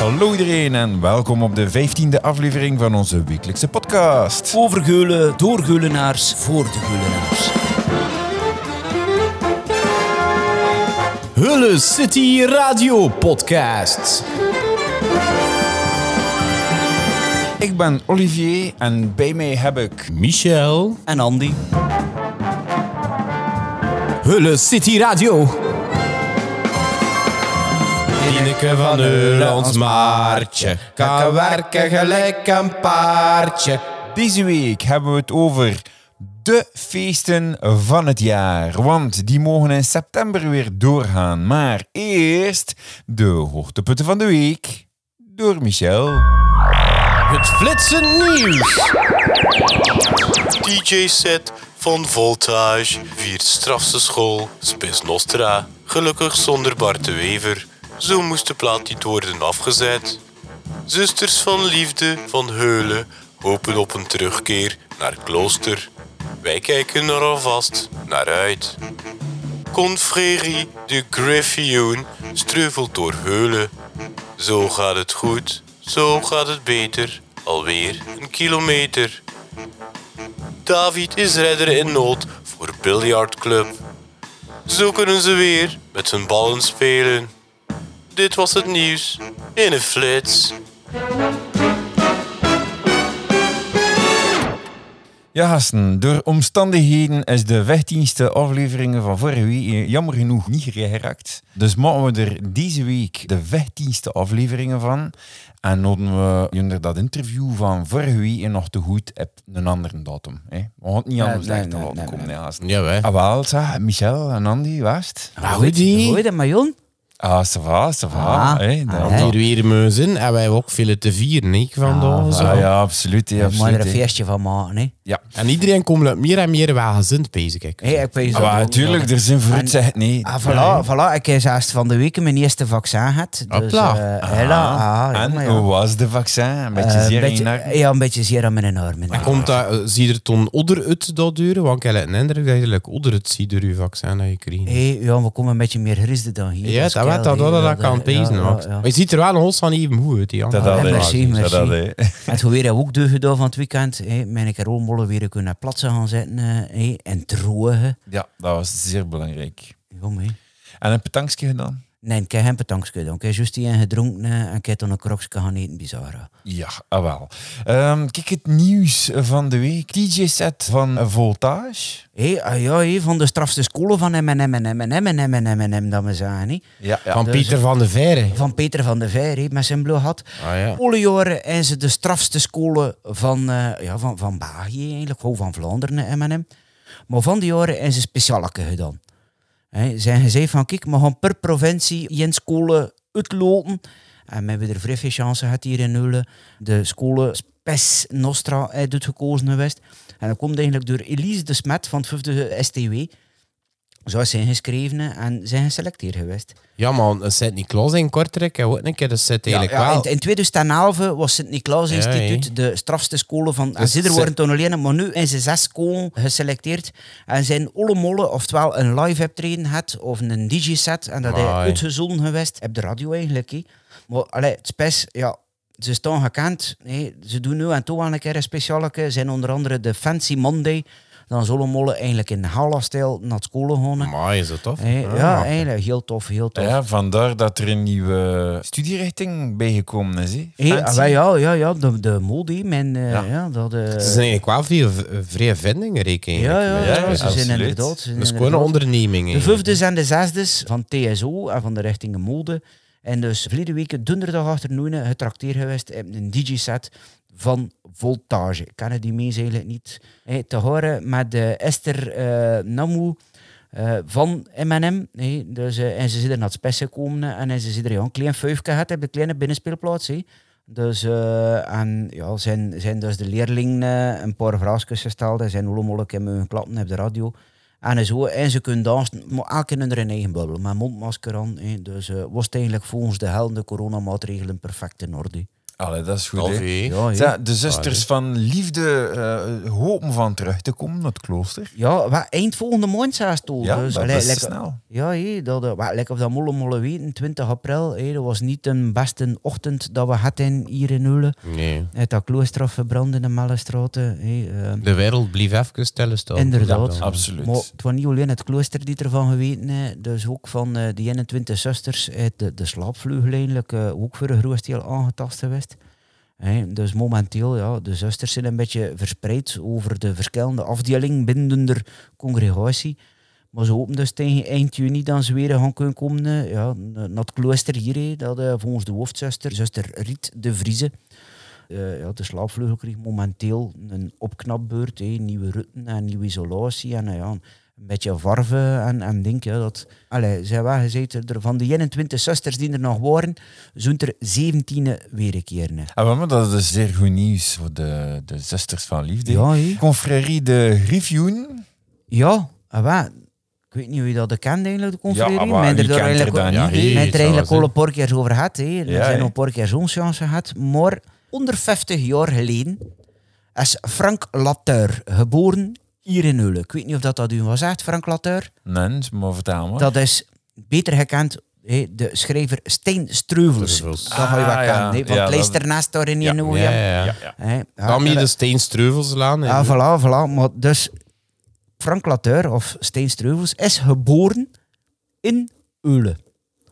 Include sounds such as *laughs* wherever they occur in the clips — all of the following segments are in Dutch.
Hallo iedereen en welkom op de 15e aflevering van onze wekelijkse podcast. Over Geulen, door Geulenaars, voor de Geulenaars. Hulle City Radio Podcast. Ik ben Olivier en bij mij heb ik. Michel. En Andy. Hulle City Radio. Tineke van Hulle, ons maartje. Kan werken gelijk een paardje. Deze week hebben we het over de feesten van het jaar. Want die mogen in september weer doorgaan. Maar eerst de hoogtepunten van de week door Michel. Het flitsen nieuws. DJ-set van Voltage viert strafse school, Spis Nostra. Gelukkig zonder Bart de Wever. Zo moest de plaat niet worden afgezet. Zusters van Liefde van Heulen hopen op een terugkeer naar klooster. Wij kijken er alvast naar uit. Confrérie de Griffioen streuvelt door Heulen. Zo gaat het goed, zo gaat het beter. Alweer een kilometer. David is redder in nood voor biljartclub. Zo kunnen ze weer met hun ballen spelen. Dit was het nieuws in een flits. Ja, gasten, door omstandigheden is de 15e aflevering van vorige week eh, jammer genoeg niet geraakt. Dus maken we er deze week de 15e afleveringen van. En hadden we jullie dat interview van vorige week nog te goed op een andere datum. Hè? We gaan het niet anders nee, echt nee, laten nee, komen, nee. hè, gasten. Ja, wij. Ah, wel, zeg, Michel en Andy, wast. Nou, Hoor je die. dat, Marion? Ah, ça va, ça va. Ah, hè, ah, dan, hè. Hier weer meuzen en wij hebben ook veel te vieren, hè, vandaag. zo. Ah, ja, absoluut. hè, We moeten er absoluut een hè. feestje van maken, hè. ja. En iedereen komt uit meer en meer welgezind bezig, ik. Hé, ik weet Ah, maar natuurlijk, er zijn voor het zegt nee. Ah, voilà, voilà. Ik heb zelfs van de week mijn eerste vaccin gehad. Dus, Hopla. eh, hela, ah, en jongen, ja. hoe was de vaccin? Een beetje Eh, zeer in beetje- je nek? Ja, een beetje zeer aan mijn armen. En komt dat, eh, zie je er toen odder uit dat duren? Want ik heb een indruk dat je like, odder het ziet door je vaccin dat je krijgt. Hé, ja, we komen een beetje meer grisden dan hier. Ja, is dat, keil, weet dat, hè. dat, dat, kan eh, pezen. ja, Max. ja, ja. Maar je ziet er wel een hols van even moe uit. Die Dat andere. had hij. eh, merci, Dat had hij. *laughs* En toen weer heb ik ook deugd gedaan van het weekend. Hé, mijn rolmollen weer kunnen platsen gaan zetten. eh, hé, en drogen. Ja, dat was zeer belangrijk. Ja, maar, hé. En een petankje gedaan? Nee, ik heb geen petankske gedaan. Ik heb juist die een gedronken eh, en ik heb dan een krokske gaan eten, bizar. Ja, ah wel. Ehm, kijk, het nieuws van de week. DJ-set van Voltage. Hé, ah ja, hé, van de strafste scholen van M&M en M&M en M&M en M&M, dat we zeggen. hé. Ja, ja. Van Pieter van de Verre. Van Peter van der Veer, hé, met zijn blauw hat. Ah, ja. Alle jaren zijn ze de strafste scholen van, eh ja, van, van België eigenlijk, gewoon van Vlaanderen, eh, M&M. Maar van die jaren zijn ze specialeke gedaan. Hè, zijn gezegd van, kijk, we gaan per provincie in scholen uitloten. En we hebben er vrij veel chance gehad hier in Heulen. De scholen Spes Nostra uit het gekozen geweest. En dat komt eigenlijk door Elise de Smet van het 5e STW. Zo is zijn geschreven hè, en zijn geselecteerd geweest. Ja, man, Sint-Niklaas in Kortrijk. En ook een keer, dat zit eigenlijk Ja, wel. in, in 2011 was Sint-Nicolaas Ja, Instituut hè. de strafste scholen van... en Dus ze er ze- worden toen alleen, maar nu zijn ze zes scholen geselecteerd. En zijn alle mollen, oftewel een live optreden had, of een digiset. En dat hij Amai. uitgezonden geweest, op de radio eigenlijk. hè. Maar allee, het spes, ja, ze staan gekend. hè. Ze doen nu en toe aan een keer een speciale. zijn onder andere de Fancy Monday. Dan zullen mollen eigenlijk in Hala-stijl naar school gaan. Maar is dat tof? Ah. Hè, ja, eigenlijk heel tof, heel tof. Ja, vandaar dat er een nieuwe studierichting bijgekomen is. hè. Hey, Fancy. ah, wel, ja, ja, ja, de, de mode, mijn, eh, ja. dat... eh, Het is eigenlijk wel veel v- eh, vrije vindingen, rekenen. ja, ja, ja, ja, ze absoluut. zijn inderdaad... Ze zijn Dat is gewoon een inderdaad. onderneming. De hè. vijfdes en de zesdes van TSO en van de richting mode. En dus verleden week, donderdag achternoen, getrakteerd geweest op een digiset van Voltage. Ik ken die mensen eigenlijk niet. Hey, te horen met eh, Esther eh Namu eh, van M&M. Hey, dus, eh, en ze zitten naar het spes gekomen eh, en ze zitten er ja, een klein vijfje gehad op de kleine binnenspeelplaats. hè. Dus, eh, en ja, zijn, zijn dus de leerlingen eh, een paar vraagjes gesteld en zijn allemaal in hun klappen op de radio. En zo, en ze kunnen dansen, maar elk in hun eigen bubbel, met mondmasker aan. hè. Dus eh, was het eigenlijk volgens de helden coronamaatregelen perfect in orde. Allee, dat is goed, hè? Alvee. Ja, hè. Ja, de zusters van liefde eh, hopen van terug te komen naar het klooster. Ja, wat, eind volgende maand zelfs toch. Ja, dus, dat allee, is lekker- snel. Ja, hé, dat, eh, wat, lekker of dat molle molle weten, 20 april, hé, dat was niet de beste ochtend dat we hadden hier in Ulle. Nee. Het dat klooster verbrand in de Mallestraten. hé, eh. De wereld bleef even stellen staan. Inderdaad. Ja. Absoluut. Maar het was niet alleen het klooster die ervan geweten heeft, dus ook van eh die 21 zusters uit de, de slaapvleugel eigenlijk, eh, ook voor een groot deel aangetast geweest. Hè, dus momenteel, ja, de zusters zijn een beetje verspreid over de verschillende afdelingen binnen de congregatie. Maar ze hopen dus tegen eind juni dan ze weer gaan kunnen komen eh, ja, naar het klooster hier, hè, dat eh, volgens de hoofdzuster, zuster Riet de Vriezen, eh, ja, de slaapvleugel kreeg momenteel een opknapbeurt. hè, nieuwe rutten en nieuwe isolatie. En eh, ja, een beetje varven en, en denk je dat... Allee, zij waren gezeten er van de 21 zusters die er nog waren, zo'n er 17 weer een keer. hè. Ah, wel, maar dat is zeer goed nieuws voor de, de zusters van liefde. Ja, hé. Confrérie de Griffioen. Ja, ah, wat? Ik weet niet hoe je dat kent eigenlijk, de conferentie. ah, Ja, maar men wie er kent er eigenlijk, dan? al- Ja, men hier er zou eigenlijk zijn. al een paar keer over gehad. hè. Er Ja, zijn hè. al een paar keer zo'n chance gehad. Maar onder 50 jaar geleden is Frank Latour geboren hier in Heulen. Ik weet niet of dat, dat u was zegt, Frank Latour. Nee, maar vertel maar. Dat is beter gekend, hè, de schrijver Stijn Streuvels. Streuvels. Dat ga je wel Ah, kennen, ja. hè, Ja, want dat- lees daarnaast daar in je Ja, nieuwe ja, jam. ja. Hè, ja, Kwam je dat- de steenstreuvelslaan? ja, voilà, voilà. Maar dus Frank Latour, of Stijn Streuvels, is geboren in Eulen.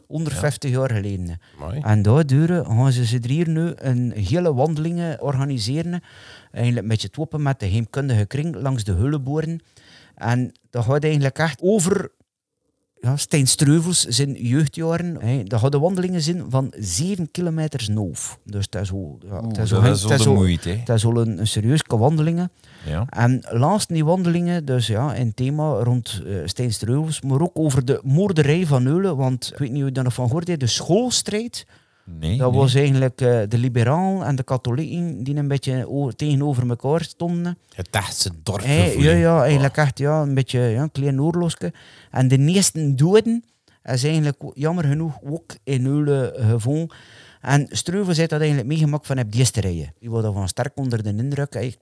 150 jaar geleden. Mooi. En daardoor gaan ze ze hier nu een hele wandelingen organiseren. Eigenlijk met je toppen met de heemkundige kring langs de Hulleboren. En dat gaat eigenlijk echt over ja, Stijn Streuvels zijn jeugdjaren. Hè, dat gaat de wandelingen zijn van 7 kilometers noof. Dus dat is al, ja, Oeh, dat is al- dat is dat wel is de al- moeite, hè. dat is al een, een serieuze wandelingen. Ja. En laatst die wandelingen, dus ja, een thema rond eh Stijn Streuvels, maar ook over de moorderij van Eulen, want ik weet niet hoe je daar nog van gehoord hebt, de schoolstrijd, Nee, dat nee. was eigenlijk eh, de liberaal en de katholieken die een beetje o- tegenover elkaar stonden. Het echte Hey, dorpgevoel. ja, ja, eigenlijk echt ja, een beetje ja, een klein oorlogske. En de meeste doden is eigenlijk o- jammer genoeg ook in Eulen gevonden. En Streuvels heeft dat eigenlijk meegemaakt van die rijden. Die was daarvan sterk onder de indruk. Hij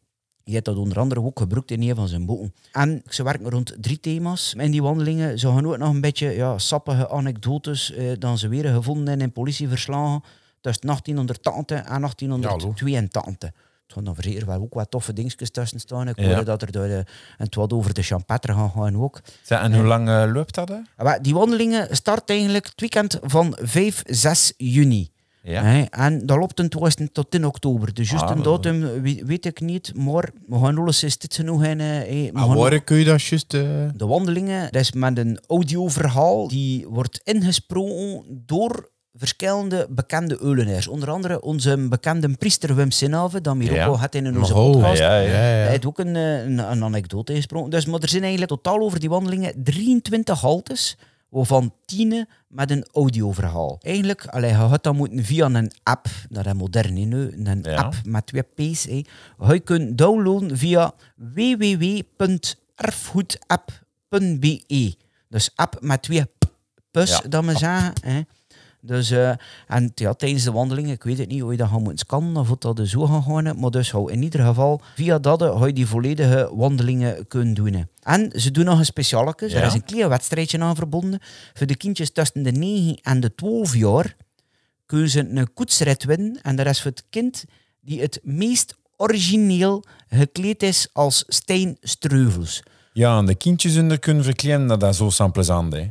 die heeft dat onder andere ook gebruikt in een van zijn boeken. En ze werken rond drie thema's in die wandelingen. Ze gaan ook nog een beetje ja, sappige anekdotes eh, dan ze weer gevonden hebben in politieverslagen tussen 1880 en Ja, 1882. Het gaan dan zeker wel ook wat toffe dingetjes tussen staan. Ik hoorde Ja. dat er door de, en het wat over de champêtre gaan gaan ook. Zeg, en hoe lang eh, loopt dat? Hè? Ah, wel, Die wandelingen start eigenlijk het weekend van 5, 6 juni. Ja. Hè, en dat loopt ten toesten tot 10 oktober. Dus juist Ah, een dat- datum we- weet ik niet, maar we gaan alles is dit genoeg in. eh, hè, we Ah, Maar gaan- waar Ah, kun je dat juist... eh, de wandelingen, dat is met een audioverhaal die wordt ingesproken door verschillende bekende eulenaars. Onder andere onze bekende priester Wim Sinave, dat we hier Ja. ook al had in onze oh, podcast. Ja, ja. ja, Hij ja. heeft ook een, eh, een, een anekdote gesproken. Dus, maar er zijn eigenlijk totaal over die wandelingen 23 haltes, waarvan 10 met een audioverhaal. Eigenlijk, allee, je had dat moeten via een app, dat is modern hè, nu, een Ja. app met twee P's. Hè. Je kunt downloaden via www.erfgoedapp.be. Dus app met twee p- p's, Ja, dat we zeggen. Hè. Dus, eh, en ja, tijdens de wandelingen, ik weet het niet hoe je dat gaat moeten scannen of hoe dat er zo gaat gaan, maar dus hou in ieder geval via dat eh, ga je die volledige wandelingen kunnen doen. hè. En ze doen nog een speciale, Ja. er is een klein wedstrijdje aan verbonden. Voor de kindjes tussen de 9 en de 12 jaar kunnen ze een koetsrit winnen en dat is voor het kind die het meest origineel gekleed is als Stijn Streuvels. Ja, en de kindjes onder kunnen verkleden, dat is zo San plezant, hè.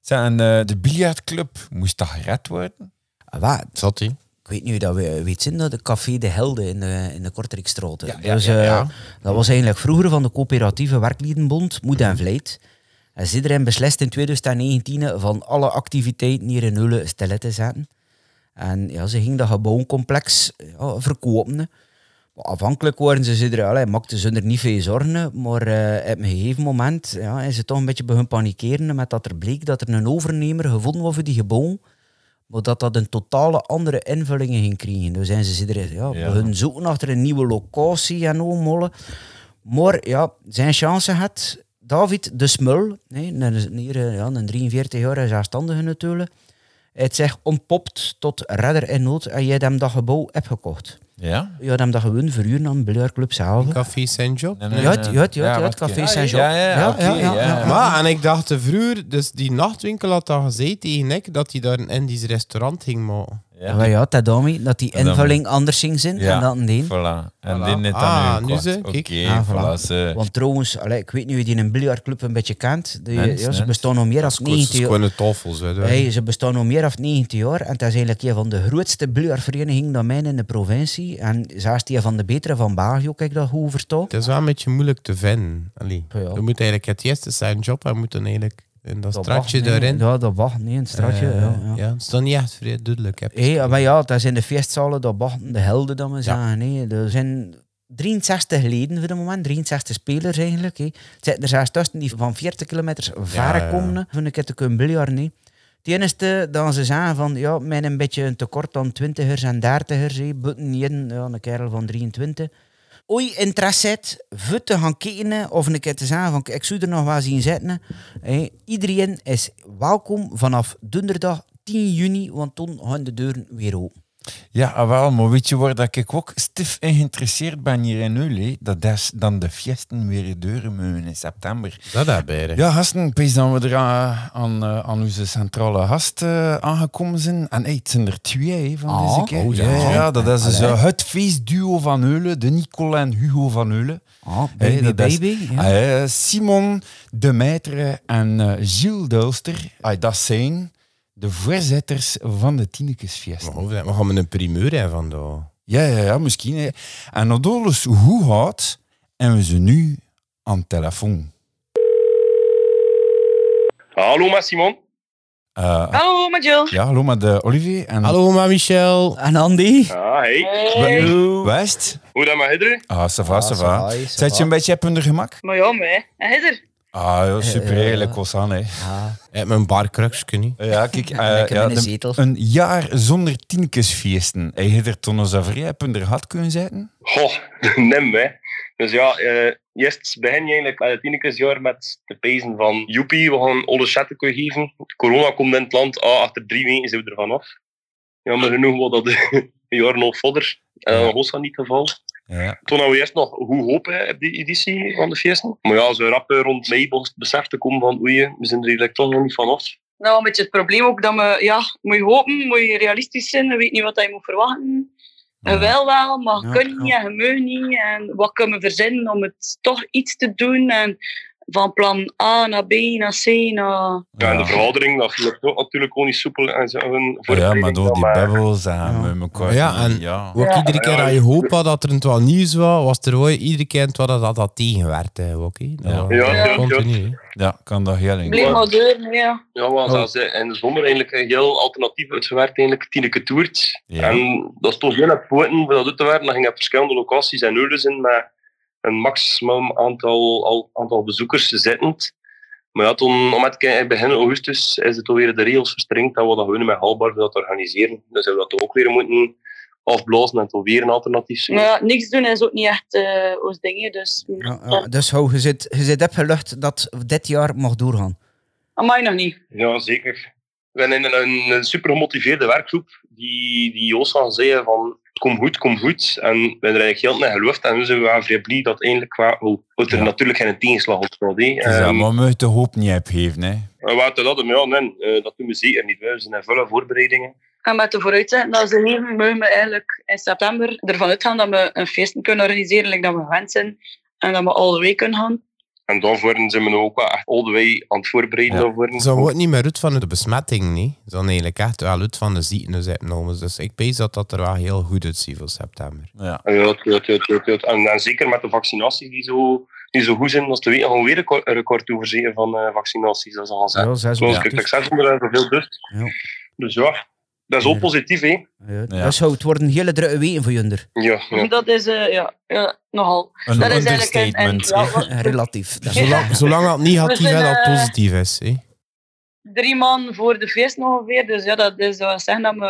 Zeg, en eh, de biljartclub, moest dat gered worden? Ah, Wat? Zat hij? Ik weet niet hoe dat we weet zijn, dat de Café de Helden in de, in de Kortrijkstraat. hè. ja, dus, ja, eh, ja. Dat was eigenlijk vroeger van de coöperatieve werkliedenbond, Moed en Vlijt. En iedereen beslist in 2019 van alle activiteiten hier in Hulle stil te zetten. En ja, ze ging dat gebouwcomplex ja, verkopen. hè. Maar afhankelijk waren ze, ze er, allee, maakten ze er niet veel zorgen. hè. Maar eh, op een gegeven moment ja, is ze toch een beetje begonnen panikeren. Met dat er bleek dat er een overnemer gevonden was voor die gebouw. Maar dat dat een totale andere invulling ging krijgen. Dus zijn ze er, ja, Ja. begonnen zoeken achter een nieuwe locatie en omholen. Maar ja, zijn chance had David de Smul, nee, een, een, hier, eh, ja, een 43-jarige zelfstandige natuurlijk. Het zegt ontpopt tot redder in nood en jij hem dat gebouw hebt gekocht. Ja? Je had hem dat gewoon verhuurd aan de biljartclub zelf. Café Saint-Job. Nee, Ja, nee, ja, nee. ja, ja, ja, wacht het café even. Saint-Jean. Ah, Ja, ja, ja, oké, ja. Maar, en ik dacht te vroeger, dus die nachtwinkel had dat gezegd tegen ik, dat hij daar een Indisch restaurant ging maken. Ja, maar ja, Tadami, dat die Tadami. invulling anders ging zijn en dan die. Voilà. En Voilà. dit net dan Ah, nu nu kwart. ze, Oké, kijk. Ah, voilà. voilà. ze- Want trouwens, allee, ik weet niet wie die een biljartclub een beetje kent. Die, Mens, ja, ze mens. bestaan al meer dan 90 jaar. gewoon toffels. Hè, daar. Hey, ze bestaan al meer dan 90 jaar. En het is eigenlijk een van de grootste biljartverenigingen dan mij in de provincie. En zelfs die van de betere van België, ook, kijk dat goed vertaal. Het is wel een beetje moeilijk te vinden. Allee. Ja. Je moet eigenlijk het eerste zijn job, en moet dan eigenlijk in dat, Dat straatje wacht, nee. daarin. Ja, dat wacht. Nee, een straatje. Eh, ja, ja. ja, het is dan niet echt vrij duidelijk. Heb Hé, maar ja, dat zijn de feestzalen, dat wachten de helden, dat we zeggen. hé. er zijn 63 leden voor het moment, 63 spelers eigenlijk. hé. Het zitten er zelfs tussen die van 40 kilometers ver ja, ja. komen, hè, van een keer te kunnen biljarten. hé. Het enige dat ze zeggen van, ja, men een beetje een tekort aan 20ers en 30ers, hé. Butten jeden, ja, een kerel van 23. Oei, interesse hebt, voor te gaan kijken hè, of een keer te zeggen van, ik zou er nog wel zien zitten. hè. Hé, iedereen is welkom vanaf donderdag 10 juni, want toen gaan de deuren weer open. Ja, ah, wel, maar weet je waar dat ik ook stif in geïnteresseerd ben hier in Ule? Dat is dan de fiesten weer deuren moeten in september. Dat daarbij. hè. Ja, gasten, pees dan we er aan, aan, eh, aan onze centrale gast eh, aangekomen zijn. En hey, het zijn er twee hè, van Ah, deze keer. oh, ja. ja, ja, dat is dus, eh, het feestduo van Heulen, de Nicole en Hugo van Heulen. Ah, Hey, baby, dat is- baby. ja. Ah, eh, Simon de Meitre en eh, Gilles Dulster, Ah, dat zijn de voorzitters van de Tinekesfeest. Maar hoofd- We gaan met een primeur hebben vandaag. Ja, ja, ja, misschien. hè. En dat alles hoe houdt en we ze nu aan de telefoon. Hallo, maar Simon. Eh, Hallo, met Jill. ja, hallo met eh, Olivier en Hallo, ma Michel. En Andy? Ah, hey. West. Hoe dan maar Hidder? Ah, ça va, ça va. Zet je een beetje op hun gemak? Maar ja, mij. En Hidder. Ah, ja, super, Eh, eigenlijk was aan, hè. Ik heb mijn barcruxje niet. Ja, kijk, eh, lekker ja, in een de- zetel. een jaar zonder tinkesfeesten. Heb je er toen eens vrij op hun gat kunnen zetten? Goh, *laughs* nem, hè. Dus ja, eh, eerst begin je eigenlijk aan het Inekesjaar met de pezen van joepie, we gaan alle chatten kunnen geven. Corona komt in het land, ah, achter drie weken zijn we er vanaf. Jammer genoeg was dat *laughs* een jaar nog vodder. En dat was dat niet het geval. Ja. Toen hadden we eerst nog hoe hoop hè, op die editie van de feesten. Maar ja, zo rap eh, rond mei begon het besef te komen van oei, we zijn er eigenlijk toch nog niet vanaf. Nou, met het probleem ook dat we, ja, moet je hopen, moet je realistisch zijn, je weet niet wat je moet verwachten. Je wel wel, maar je Ja, kunt niet ja. en je mag niet. En wat kunnen we verzinnen om het toch iets te doen? En van plan A naar B naar C naar... Ja, en de verhoudering, dat loopt ook natuurlijk ook niet soepel. En zo, hun Ja, voorbereiding maar door dan, die maar- bubbels en met elkaar. Ja, en- Ja. Wat ik Ja. iedere keer Ja. aan je hoop had dat er een twaalf nieuws was, was er ooit iedere keer een twaalf dat dat, dat tegenwerkt. Hè, ook, hè. Dat, Ja. dat Ja, ja, continu, hè. ja, kan dat heel Bleef eng. maar deur, nee, ja. Ja, want dat is eh, in de zomer eigenlijk een heel alternatief uitgewerkt, eigenlijk Tineke Toert. Ja. En dat is toch heel het poten om dat uit te werken. Dan ging op verschillende locaties en uren in met een maximum aantal, al- aantal bezoekers zittend. Maar ja, toen, om het te- begin augustus is het alweer de regels verstrengd dat we dat gewoon met haalbaar voor dat organiseren. Dus hebben we dat ook weer moeten afblazen en toch weer een alternatief zien. Maar ja, niks doen is ook niet echt eh ons ding, hè, dus... Ja, ja, dus hou, je zit, je zit opgelucht dat dit jaar mag doorgaan. Amai, nog niet. Ja, zeker. We zijn in een, een super gemotiveerde werkgroep die, die Joost al zei van kom goed, kom goed. En we zijn er eigenlijk heel net geloofd. En we zijn wel vrij blij dat eindelijk qua, oh, dat er Ja. natuurlijk geen tegenslag ontstond. hè. Het is dat, Ehm, maar moet de hoop niet opgeven, hè. en wat dat, hem, ja, nee, eh, dat doen we zeker niet. We zijn in volle voorbereidingen. En met de vooruitzetting dat ze leven, mogen we eigenlijk in september ervan uitgaan dat we een feest kunnen organiseren, like dat we gewend zijn. En dat we all the way kunnen gaan. En daarvoor zijn we nog ook wel echt all the way aan het voorbereiden. Ja. Daarvoor. Ze wordt niet meer uit van de besmetting, nee. Ze zijn eigenlijk echt wel uit van de ziektes opgenomen. Dus ik pees dat dat er wel heel goed uitziet voor september. Ja. Ja, ja, ja, ja, ja, ja. En, en zeker met de vaccinaties die zo, die zo goed zijn, als te weten gaan we weer een ko- een record overzien van eh, vaccinaties. Dat is al gezegd. Ja, zes Zoals ja. ik het zeg, er veel dus. Ja. Dus ja, dat is ook Ja. positief, hè? Ja, Ja. Dus hou, het worden hele drukke weken voor Junder. Ja, ja. Dat is eh, ja, ja, nogal. Een dat is eigenlijk een, understatement. een, ja, wat- eh, Relatief. Dat is- Zolang, zolang dat negatief en dat positief is. Hè. drie man voor de feest ongeveer. Dus ja, dat is dat zeggen dat we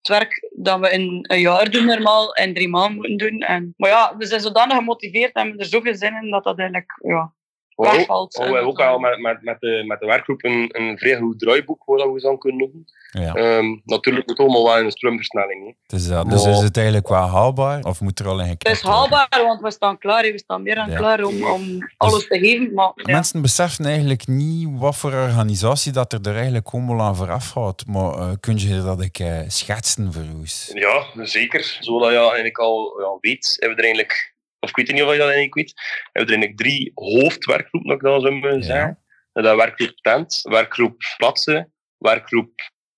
het werk dat we in een jaar doen normaal en drie maanden moeten doen. En, maar ja, we zijn zodanig gemotiveerd en we hebben er zoveel zin in dat dat eigenlijk ja, Wow. wegvalt. Oh, we hebben ook al met, met, met, de, met de werkgroep een, een vrij goed draaiboek waar dat we ze aan kunnen doen. Ja, Ehm, natuurlijk moet het allemaal wel in een stroomversnelling. hè. *laughs* het is dat. Dus Wow. is het eigenlijk wel haalbaar? Of moet er al in geknipt Het is worden? haalbaar, want we staan klaar. hè. We staan meer dan Ja. klaar om, om alles te geven. Maar ja. Mensen beseffen eigenlijk niet wat voor organisatie dat er, er eigenlijk allemaal aan vooraf gaat. Maar eh, kun je dat ik schetsen voor ons? Ja, zeker. Zoals je eigenlijk al ja, weet, hebben we er eigenlijk, of ik weet niet of je dat eigenlijk weet, hebben we er eigenlijk drie hoofdwerkgroepen, dat ik dat zo mogen Ja. zeggen. Dat is werkgroep tent, werkgroep plaatsen, werkgroep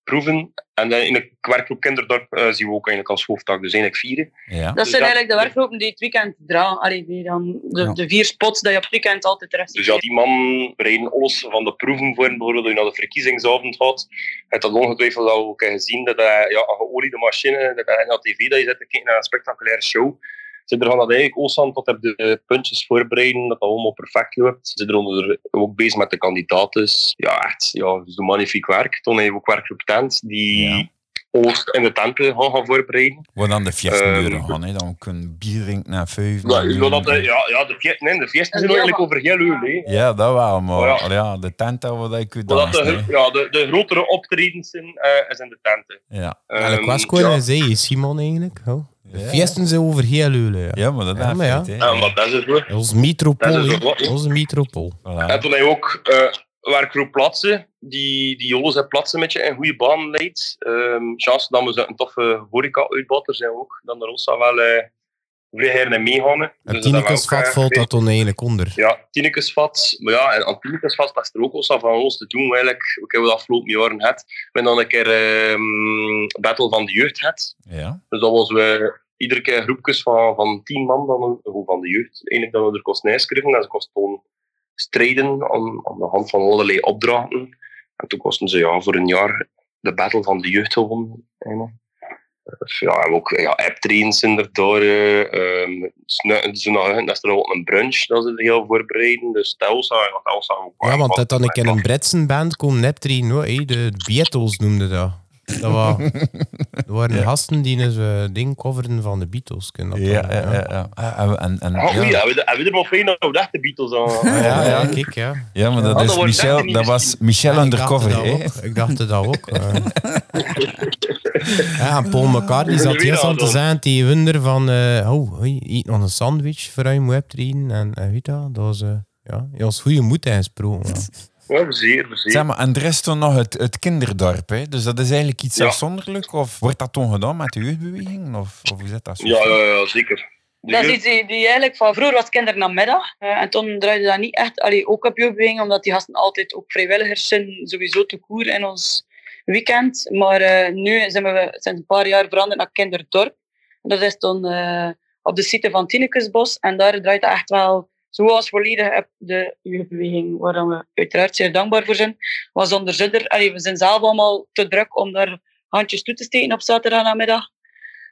proeven en dan eigenlijk werkgroep kinderdorp eh, zien we ook eigenlijk als hoofdtak, dus eigenlijk vieren. Ja. Dat Dus zijn dat- eigenlijk de werkgroepen die het weekend draaien. Allee, die dan de, Ja. de vier spots die je op het weekend altijd terecht Dus ja, die man bereiden alles van de proeven voor, bijvoorbeeld als je naar de verkiezingsavond gaat. Je hebt dat ongetwijfeld al ook gezien, dat hij, ja, een geoliede machine, dat hij naar tv, dat je zit te kijken naar een spectaculaire show. Ze er van dat eigenlijk Oosland tot op de eh, puntjes voorbereiden, dat dat allemaal perfect loopt. Ze zijn onder ook bezig met de kandidaten. Dus Ja, echt, ja, ze doen magnifiek werk. Toen hebben we ook werk op tent, die Ja. alles in de tenten gaan, gaan voorbereiden. Wat dan de fiestendeuren Ehm, gaan, hè? dan kunnen we bier drinken na vijf. Ja, na negen. dat, eh, ja, ja de fiesten, nee, de fiesten En zijn heel eigenlijk wat- over heel uw hè. Ja, dat wel, maar Oh ja. allee, ja, de tent dat wat ik u Maar dat eh, dansen, de, hè. ja, de, de grotere optredens zijn, eh, is in de tenten. ja. Welk Ehm, was Koen ja. en zei Simon eigenlijk? Oh. De Ja. fiesten zijn over heel Eulen. Ja. ja, maar dat Ja, heb maar je ja. het, hè. Ja, maar dat is het hoor. Onze metropool. Dat is hè. ook wat. Onze metropool. Voilà. En toen heb je ook eh werkgroep Platsen, die, die Jolos en Platsen met je in goede baan leidt. Ehm chance dat we ze een toffe horeca-uitbatter zijn ook. Dan de Rossa wel eh vrij heren en Het meegaan. dat hebben we Tinekes ook, vat eh, valt dat dan eigenlijk onder. Ja, Tinekesvat. Maar ja, en aan Tinekesvat dat is er ook al van ons te doen. Eigenlijk, ook hebben we de afgelopen jaren gehad. We hebben dan een keer ehm Battle van de Jeugd gehad. Ja. Dus dat was we iedere keer groepjes van, van tien man dan, of van de jeugd. Eigenlijk dat we er kost schreven en ze kost gewoon strijden aan, aan de hand van allerlei opdrachten. En toen kosten ze ja, voor een jaar de battle van de jeugd gewonnen. eigenlijk. Dus Ja, en ook ja, app-trains zijn er door. eh, ehm, snu- zo naar hun, dat is er ook een brunch dat ze er heel voorbereiden. Dus Telsa, ja, Telsa ook. Ja, want dat dan ik in een Britse band kom net erin. hoor, hè. De Beatles noemden dat. Dat, wa- *laughs* dat waren Ja. gasten die dus, eh, ding coverden van de Beatles. Kun dat Ja, dan, ja, ja. ja. Ah, En, en, Oh, oei, ja. hebben we- hebben we er maar fijn dat we echt de Beatles aan. Ah, ja, Ja, ja, ja. kijk, ja. ja, maar dat, Oh, is dat wordt echt Michel, niet dat was Michel Ja, ik dacht undercover. dat hè. ook. Ik dacht dat ook. *laughs* eh. ja, en Paul McCartney zat eerst aan te zijn tegen Wunder van... eh, oh, hoi, eet nog een sandwich voor je moet erin. En, en weet je dat, dat was... eh, ja, je was goede moed ingesproken. Ja. Ja, zeer, zeer. Zeg maar, en er is toen nog het, het kinderdorp, hè? dus dat is eigenlijk iets Ja. afzonderlijk? Of wordt dat toen gedaan met de jeugdbeweging? Of, of hoe zit dat zo? Ja, ja, ja, zeker. De Dat is jeugd- iets die, die eigenlijk van vroeger was kindernamiddag. eh en toen draaide dat niet echt allee, ook op jeugdbeweging, omdat die gasten altijd ook vrijwilligers zijn, sowieso te koer in ons weekend. Maar eh, nu zijn we sinds een paar jaar veranderd naar kinderdorp. En dat is dan eh, op de site van Tinekesbos. En daar draait dat echt wel zoals volledig op de jeugdbeweging, waar dan we uiteraard zeer dankbaar voor zijn. Was zonder zudder. Allee, we zijn zelf allemaal te druk om daar handjes toe te steken op zaterdag namiddag.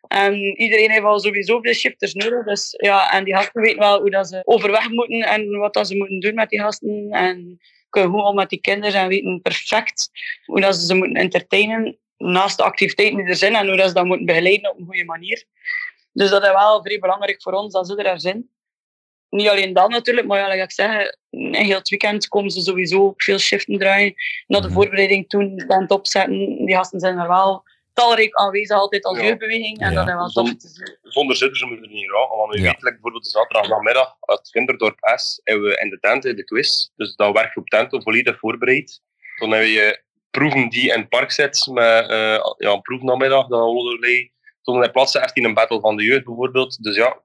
En iedereen heeft al sowieso veel shifters nodig. Dus ja, en die gasten weten wel hoe dat ze overweg moeten en wat dat ze moeten doen met die gasten. En kunnen goed om met die kinderen en weten perfect hoe dat ze ze moeten entertainen naast de activiteiten die er zijn en hoe dat ze dat moeten begeleiden op een goede manier. Dus dat is wel vrij belangrijk voor ons dat ze er zijn. Niet alleen dat natuurlijk, maar ja, laat ik zeggen, heel het weekend komen ze sowieso op veel shiften draaien. Naar de Mhm. voorbereiding toen, de tent opzetten. Die gasten zijn er wel talrijk aanwezig altijd als Ja. jeugdbeweging. En Ja. dat is wel tof te zien. zonder zitters moeten we er niet raken. Want we Ja. weten, like, bijvoorbeeld de zaterdagnamiddag uit Kinderdorp S hebben we in de tent in de quiz. Dus dat werkt op tenten volledig voorbereid. Dan hebben je proeven die in het park zit met eh ja, een proefnamiddag, dat allerlei. Toen heb je plaatsen echt in een battle van de jeugd bijvoorbeeld. Dus ja,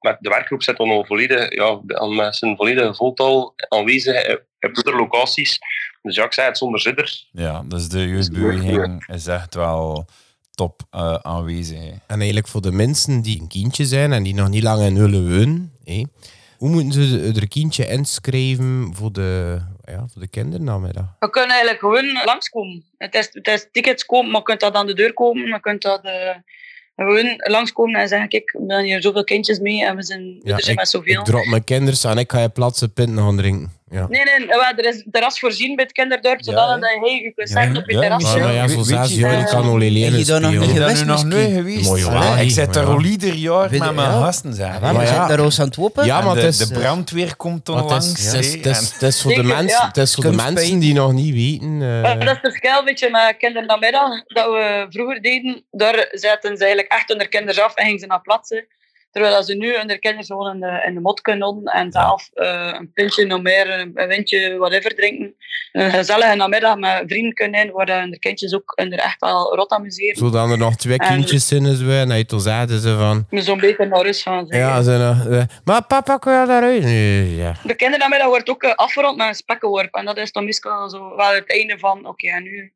met de werkgroep zit dan al volledig, ja, aan met zijn volledige voltal aanwezig op- op andere locaties. Dus ja, ik zei het zonder zitters. Ja, dus de jeugdbeweging is echt wel top eh, aanwezig. hè. En eigenlijk voor de mensen die een kindje zijn en die nog niet lang in Hulle wonen, hé, hoe moeten ze er kindje inschrijven voor de, ja, voor de kindernamiddag? Je kunt eigenlijk gewoon langskomen. Het is, het is tickets kopen, maar je kunt dat aan de deur komen. Je kunt dat eh, gewoon langskomen en zeggen, kijk, we hebben hier zoveel kindjes mee en we zijn, Ja, er zijn met ik zoveel. drop mijn kinders en ik ga je platse pint gaan drinken. Ja. Nee, nee, wel, er is een terras voorzien bij het kinderdorp, zodat Ja, hè? dat je je kunt zetten op je Ja, terras. misschien. Maar, maar ja, zo Weet- weet zes je- jaar, ik kan al Heb je daar nog Ik leren niet ben geweest er nog misschien? nooit geweest. Mooi, joh. Allee, Ah, ik ja. zit daar al ieder jaar Weet- met mijn ja. gasten. zeg. Ja, maar Maar we ja. zijn daar roos aan het wopen. En Ja, maar de, het is... eh, de brandweer komt dan Maar het is- langs. het is- hè, het is- en- het is voor de Zeker, mensen- ja. het is voor de Kunstpijn. mensen die nog niet weten... eh, Maar dat is het verschil beetje met kindernamiddag dat we vroeger deden. Daar zetten ze eigenlijk echt hun kinders af en gingen ze naar plaatsen. Terwijl dat ze nu hun kinders gewoon in de, in de mot kunnen doen en zelf eh, een pintje, nog meer, een een windje, whatever drinken. Een gezellige namiddag met vrienden kunnen in, waar dan de kindjes ook hun er echt wel rot amuseren. Zodat er nog twee En- kindjes in is bij. En hij toen zeiden ze van... Maar zo'n beetje naar rust gaan. zeg. Ja, ze nog... eh, maar papa, ik wil daaruit. Nee, ja. De kindernamiddag wordt ook eh, afgerond met een spekkenworp. En dat is dan meestal zo wel het einde van, oké, en nu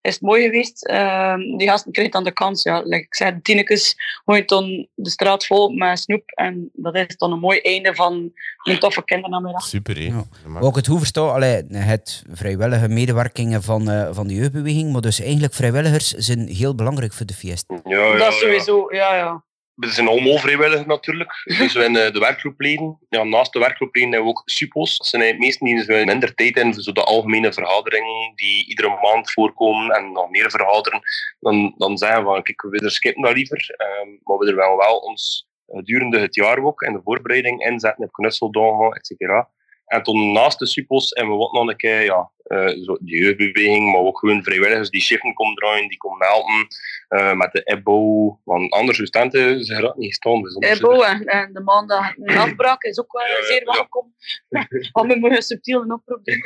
is het mooi geweest. Ehm, die gasten kregen dan de kans. Ja. Like ik zei, tienekes gooit dan de straat vol met snoep. En dat is dan een mooi einde van een toffe kindernamiddag. Super, hè. Ja. Maar- Wat ik het hoe versta, allee, het vrijwillige medewerkingen van, eh, van de jeugdbeweging, maar dus eigenlijk vrijwilligers zijn heel belangrijk voor de fiest. Oh, Ja, ja, dat is ja. sowieso, ja, ja. We zijn allemaal vrijwilligers natuurlijk. Dus we hebben eh, de werkgroepleden. Ja, naast de werkgroepleden hebben we ook suppo's. Dat zijn eigenlijk meesten die zo minder tijd in voor zo de algemene vergaderingen die iedere maand voorkomen en nog meer vergaderen. Dan, dan zeggen we van, kijk, we er skippen dat liever. Ehm, maar we er wel wel ons eh, gedurende het jaar ook en de voorbereiding inzetten op knutseldagen, et cetera. En toen naast de suppo's en we wat nog een keer, ja, eh, zo de jeugdbeweging, maar ook gewoon vrijwilligers die shiften komen draaien, die komen helpen eh, met de EBO. Want anders de studenten, ze geraken niet gestaan. Dus anders- Ebo Eh, en, en de maandag een afbraak is ook wel Ja, ja, zeer ja. welkom. *laughs* Want we moeten subtiel een oproep doen.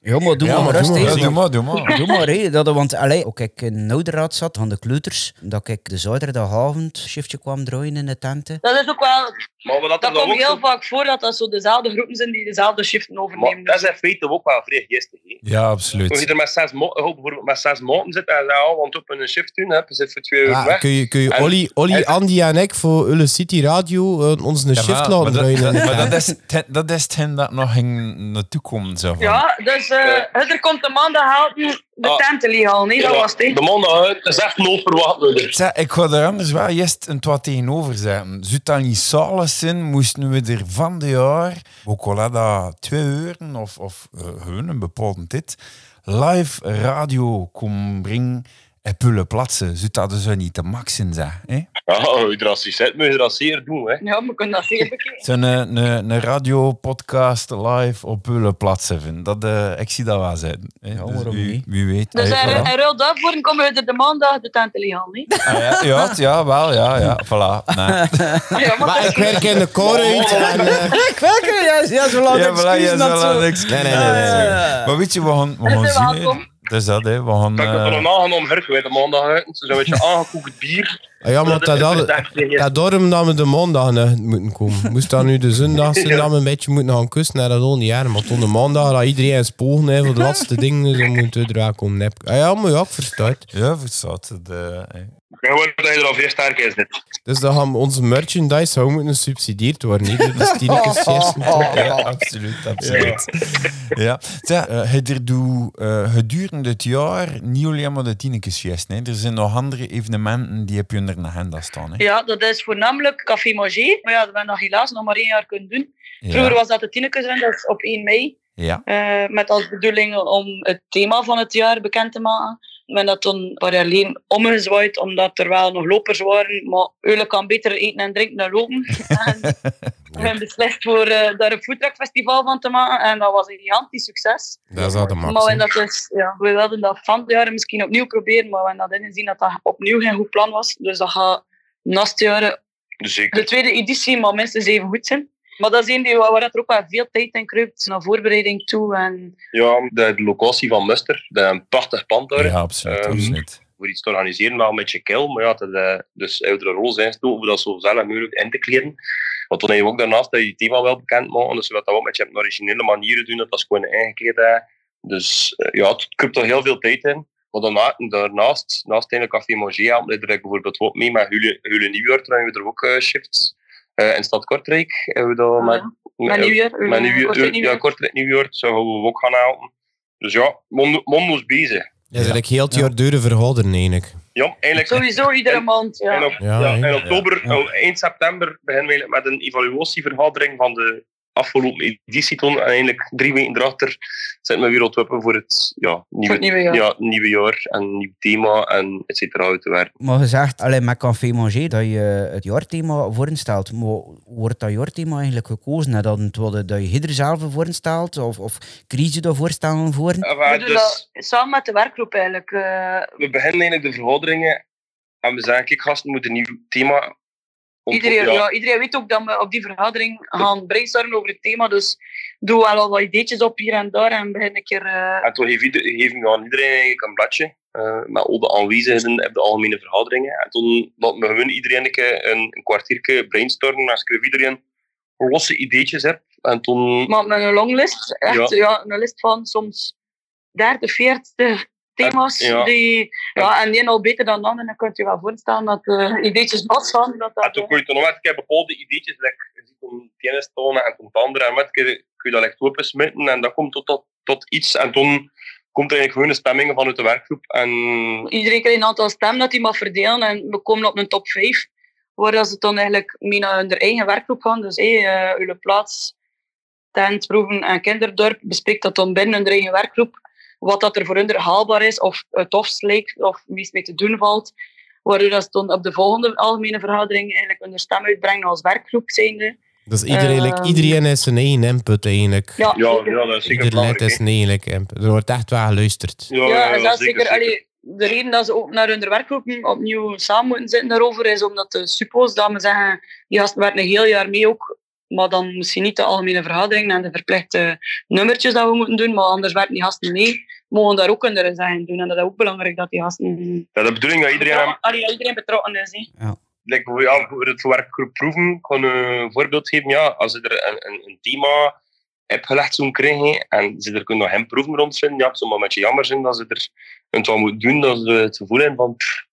Ja, maar doe Ja, maar maar doe rustig. Ja, maar, doe maar, doe maar. Doe maar, hè. Dat, want allee, ook ik in Nouderaad zat van de kleuters, dat ik de zaterdagavond shiftje kwam draaien in de tenten. Dat is ook wel Maar wat Dat er dan komt ook heel zo- vaak voor dat dat zo dezelfde groepen zijn die dezelfde shiften Maar overnemen. dat is in feite ook wel vrij geestig. hè. Ja, Als je absoluut. er met zes, mo- oh, bijvoorbeeld met zes maten zit en zegt, oh, want op een shift doen, hè, je zit voor twee uur Ja, weg. kun je, kun je En- Olly, Olly en- Andy en ik voor Ulle City Radio eh, ons een Ja, shift maar- laten maar dat- draaien in de dat- *laughs* maar tent? dat is ten- dat is ten dat nog ging naartoe komen. Zo van. Ja, dus eh, er komt de maandag helpen de Ah. tenten liggen al, nee, dat Ja, was het. hè. De man uit, dat is echt nooit verwacht. dus. moeder. Zeg, ik ga er anders wel juist een twat tegenover zetten. Zou dat niet zalig zijn, moesten we er van de jaar, ook al had dat twee uren of, of eh, gewoon een bepaalde tijd, live radio komen brengen en pullen plaatsen. Zou dat dus wel niet te max zijn, zeg. Hè? Ja, hoe je dat ziet zitten, moet je dat zeer doen. Hè. *laughs* Ja, we kunnen dat zeker bekijken. Zo'n een, een, een radiopodcast live op pullen plaatsen vinden. Dat, eh, ik zie dat wel zitten. hè. Ja, waarom wie, niet? Wie weet. Dus hè, er, voilà. er ruil daarvoor komen we er de maandag de tenten liggen al, nee. Ah, ja, ja, het- ja, wel, ja, ja. Voilà. Nee. Oh, Ah, *laughs* ja, maar Maar dat ik is- werk in de korenhuid en... eh, Ik welke? Ja, ja zo laat Ja, voilà, jij zal eh, aan zo. excuus. Nee, nee, nee, nee, nee. Maar weet je, we gaan, we gaan Dat is zien. hè. welkom. Dat is dat, hè. We gaan... Dat ik het eh, er een aangenaam hurk weet, de maandag uit. Zo'n beetje *laughs* aangekoekt bier. ah ja, maar dat, is dat, echt geen dat daarom dat we de maandag eh, moeten komen. Moest dat nu de zondag zijn, dat we een beetje moeten gaan kussen naar dat al niet jaren. Maar tot de maandag dat iedereen eens pogen heeft voor de laatste dingen, dus dan moeten we er wel komen. nep- Ah ja, maar ja, ik versta het. Ja, verstaat het. eh, hè. Ik hoor dat je er al vrij sterk in zit. Dus dan gaan we- onze merchandise zou moeten gesubsidieerd worden. dus Niet door de stienekes *laughs* eerst. Ja, absoluut, absoluut. Ja. Zeg, eh, het er doe, eh, gedurende het jaar niet alleen maar de Tienekesfeest. hè. Er zijn nog andere evenementen die heb je onder de agenda staan. Hè. Ja, dat is voornamelijk Café Manger. Maar ja, dat hebben we nog helaas nog maar één jaar kunnen doen. Vroeger Ja. was dat de Tinekes dat is op 1 mei. ja. Eh, met als bedoeling om het thema van het jaar bekend te maken. Men dat toen parallel omgezwaaid, omdat er wel nog lopers waren. Maar Eulen kan beter eten en drinken dan lopen. *laughs* En we hebben beslist voor eh, daar een foodtruckfestival van te maken. En dat was een gigantisch succes. Dat is al de maar we, max. dat dus, ja, we wilden dat van het jaar misschien opnieuw proberen. Maar we hebben dat ingezien dat dat opnieuw geen goed plan was. Dus dat gaat naast jaren Zeker. de tweede editie, maar minstens even goed zijn. Maar dat is één die waar waar dat er ook wel veel tijd in kruipt, naar voorbereiding toe. En Ja, de, de locatie van Muster, de, een prachtig pand daar. ja, absoluut, Ehm, absoluut. Voor iets te organiseren, wel een beetje kil. Maar ja, dat, eh, dus uit de rol zijn gestoken om dat zo zelf mogelijk in te kleden. Want dan heb je ook daarnaast dat je het thema wel bekend maakt. Dus we dat ook met je op originele manieren doen, dat is gewoon ingekleed. Hè. Dus eh, ja, het kruipt er heel veel tijd in. Maar daarna, daarnaast, naast in de Café Manger, helpt mij er bijvoorbeeld ook mee. Met Hule, Hule Nieuwjaar draaien we er ook eh, shifts. Eh, in Stad Kortrijk hebben we dat met, Ah, Met nieuwjaar. Oh, eh, Maar nu, kort in nieuwjaar. ja, kort in Nieuw-York zouden we ook gaan helpen. Dus ja, Mondo Mondo is bezig. Ja, dat ik heel het jaar deuren verhouden, eigenlijk. Ja, eigenlijk Sowieso iedere maand, ja. in, op- Ja, ja, hè. in oktober, Ja. oh, eind september, beginnen we eigenlijk met een evaluatievergadering van de afgelopen editie toen. En eigenlijk drie weken erachter zijn we weer aan het wippen voor het, ja, Voor het nieuwe, nieuwe jaar. ja, nieuwe jaar en nieuw thema en et cetera uit te werken. Maar gezegd, alleen met Café Manger, dat je het jaarthema voorinstelt. Maar hoe wordt dat jaarthema eigenlijk gekozen? Hè? Dat, het, wat- dat je ieder zelf voorinstelt? Of, of kies je daarvoor staan voor? We Maar doen dus, dat samen met de werkgroep eigenlijk. eh, we beginnen eigenlijk de vergaderingen en we zeggen, kijk gasten, we moeten een nieuw thema... ont- iedereen, ja. ja, iedereen weet ook dat we op die vergadering gaan brainstormen over het thema. Dus doe wel al wat ideetjes op hier en daar en begin een keer... eh, En toen geef, ieder, geef ik aan iedereen eigenlijk een bladje. eh, met al de aanwezigen op de algemene vergaderingen. En toen laten we gewoon iedereen een, keer een, een kwartiertje brainstormen. En schreef iedereen losse ideetjes heb. En toen, Maar met een longlist, echt, ja. een list van soms 30, 40 thema's. Ja. Die, ja, en die een al beter dan de ander, dan kunt je wel voorstellen dat de ideetjes nat staan. Dat eh, en dat, toen kon je toen nog een keer bepaalde ideetjes. Like, je ziet om het ene staan en om het andere. En met kun je kun je dat echt opensmitten. En dat komt tot, tot, tot iets. En toen komt er eigenlijk gewoon een stemming vanuit de werkgroep. En eh, iedereen krijgt een aantal stemmen dat hij mag verdelen en we komen op een top 5. Waar dat ze dan eigenlijk mee naar hun eigen werkgroep gaan. Dus hé, eh uw plaats, tent, proeven en kinderdorp bespreekt dat dan binnen hun eigen werkgroep. Wat dat er voor hun haalbaar is, of het tofst lijkt, of meest mee te doen valt. Waardoor dat ze dan op de volgende algemene vergadering eigenlijk hun stem uitbrengen als werkgroep zijnde. Dat is iedereen, like, Ehm. iedereen heeft zijn eigen input eigenlijk. Ja, ja, zeker. ja dat is zeker Ieder lid belangrijk. heeft hè. zijn eigen like, input. Er wordt echt wel geluisterd. Ja, Ja, en ja, dat is zeker. allee, de reden dat ze ook naar hun werkgroep opnieuw samen moeten zitten daarover is omdat de suppo's dat we zeggen, die gasten werken een heel jaar mee ook, maar dan misschien niet de algemene vergadering en de verplichte nummertjes dat we moeten doen, maar anders werken die gasten mee, mogen daar ook hun zeggen doen. En dat is ook belangrijk dat die gasten... Ja, de bedoeling dat iedereen hem- Ja, allee, dat iedereen betrokken is. hè. like, voor- ja, voor het werkgroep proeven, ik kan eh, een voorbeeld geven. Ja, als je er een, een, een thema hebt gelegd zo'n krijgen en ze er kunnen nog hem proeven rondvinden, ja, het zou maar een beetje jammer zijn dat ze er een wat moeten doen, dat ze het gevoel hebben van pff,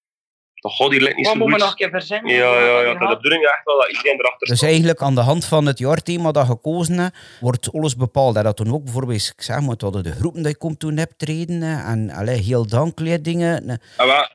dat gaat hier lijkt niet Wat zo moeten we goed. nog een keer verzinnen? Ja, ja, ja, Wat dat de bedoeling is echt wel dat iedereen erachter Dus staat. eigenlijk aan de hand van het jaarthema dat gekozen is, wordt alles bepaald. En dat toen ook bijvoorbeeld, ik zeg maar, tot de groepen die je komt toen hebt treden. hè, En allee, heel dankleerdingen. dingen. Ah, wel,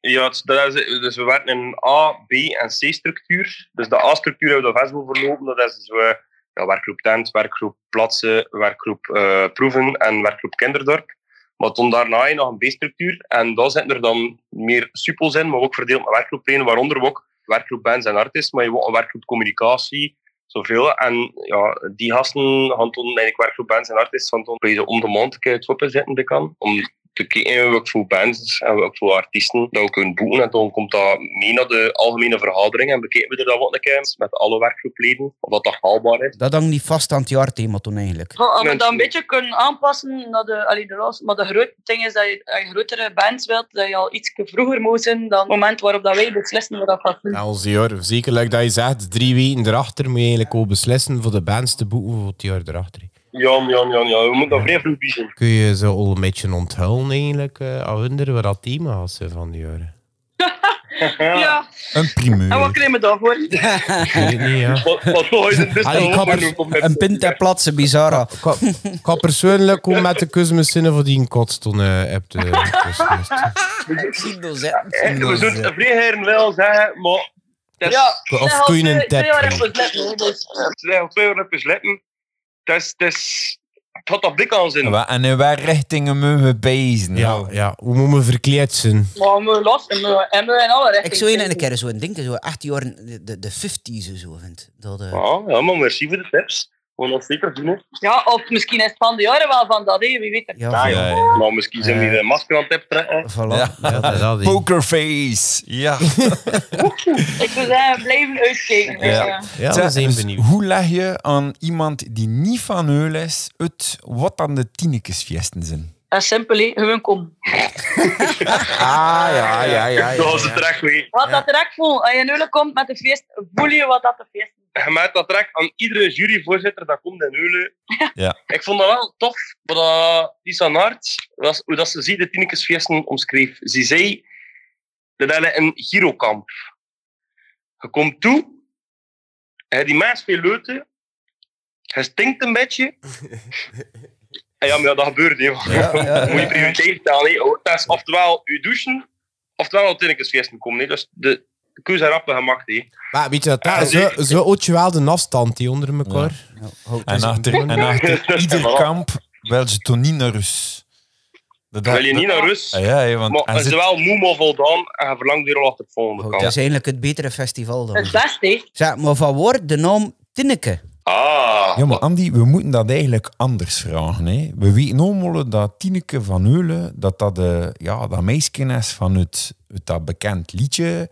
ja, het- dat is, dus we werken in een A, B en C structuur. Dus de A-structuur hebben we de Vesbo verlopen. Dat is dus we, ja, werkgroep tent, werkgroep plaatsen, werkgroep eh, proeven en werkgroep kinderdorp. Maar dan daarna heb je nog een B-structuur. En daar zitten er dan meer suppels in, maar ook verdeeld met werkgroepleden, waaronder ook werkgroep bands en artists, maar je hebt ook een werkgroep communicatie, zoveel. En ja, die gasten gaan toen, eigenlijk werkgroep bands en artists, gaan toen bij ze om de maand een keer het wippen zitten, dat kan. Om te kijken wat voor bands en wat voor artiesten dat we kunnen boeken. En dan komt dat mee naar de algemene vergadering en bekijken we er dan wat een keer met alle werkgroepleden, of dat dat haalbaar is. Dat hangt niet vast aan het jaarthema toen eigenlijk. Ja, als we dat een Mensen. beetje kunnen aanpassen naar de, allee, de laatste- maar de groot ding is dat je, als je grotere bands wilt, dat je al iets vroeger moet zijn dan het moment waarop dat wij beslissen wat dat gaat doen. Ja, onze jaar. Zeker like dat je zegt, drie weken erachter moet je eigenlijk al beslissen voor de bands te boeken voor het jaar erachter. Ja, ja, ja, ja. we moeten dat vrij vroeg biezen. Kun je ze al een beetje onthullen eigenlijk eh, aan hun wat dat thema's zijn van die jaren? Ja. Een en primeur. wat krijgen we daarvoor? Ik weet het niet, ja. Wat wat *laughs* zou je dus Allee, dan ook kappers, doen op met- Een pint ter plaatse, bizarre. Ik ga- Ik ga persoonlijk om met de Cosmos zinnen voor die een kotstone hebt. eh, Cosmos. We zullen het vrij heren wel zeggen, maar... het is- Ja, Of zeg al kun je twee- een twee tap jaar geven? even letten, hè, dus, eh, Ze zijn op twee uur op je sletten. Het is... Het is... Het had dat blik aan zijn. Wat- En in welke richtingen moeten we bezen? Nou, Ja, ja, hoe moet men verkleed zijn? Maar we lossen we en we in alle richtingen. Ik zou je een keer zo'n ding, zo echt jaren, de- de, de 50s en zo vindt. Dat, eh, Ja, ja, maar merci voor de tips. We gaan dat zeker doen. hè. Ja, of misschien is het van de jaren wel van dat, hè, wie weet het. ja, ja, voilà. ja. Nou, misschien zijn we hier een masker aan het trekken. Voilà. Ja. Ja, dat is dat. hè. Pokerface. Ja. Ik zou zeggen, blijven uitkijken. Eh, Ja. Ja. Ja, Zeg, we zijn dus benieuwd. Hoe leg je aan iemand die niet van heul is, uit wat dan de tienekesfiesten zijn? Dat is eh, simpel, hè, gewoon kom. Ah, ja, ja, ja. *laughs* Dat was het trek weer. Wat dat trek voelt, als je nu komt met de feest, voel je wat dat de feest is. Je maakt dat trek aan iedere juryvoorzitter dat komt in Heulen. Ja. Ik vond dat wel tof, wat dat Lisa Naert, was, hoe dat ze zie de Tinekesfeesten omschreef. Ze zei dat hij een gyrokamp. Je komt toe, je hebt die mens veel leuten, je stinkt een beetje. En ja, maar ja, dat gebeurt. hè. Moet je prioriteit stellen. hè. Dat is oftewel je douchen, oftewel naar de Tinekesfeesten komen. hè. Dus de de keuze hebben we gemaakt. hè. Maar weet je wat, dat, Ja, zo, zeker. zo houd je wel de afstand die onder elkaar. En *laughs* achter, en *laughs* achter Dus ieder Voilà. kamp wil ze toch niet naar Rus. Dat, Wil je niet naar rust? Ah, ja, ja, want Maar hij het is zit- wel moe, maar voldaan. En je verlangt weer al achter het volgende Oh, kamp. dat is eigenlijk het betere festival dan. Het beste, hè. Zeg, maar van waar de naam Tinneke? Ah, Ja, maar Andy, we moeten dat eigenlijk anders vragen. Hè. We weten allemaal dat Tineke van Heulen, dat dat, de, ja, dat meisje is van het, het dat bekend liedje.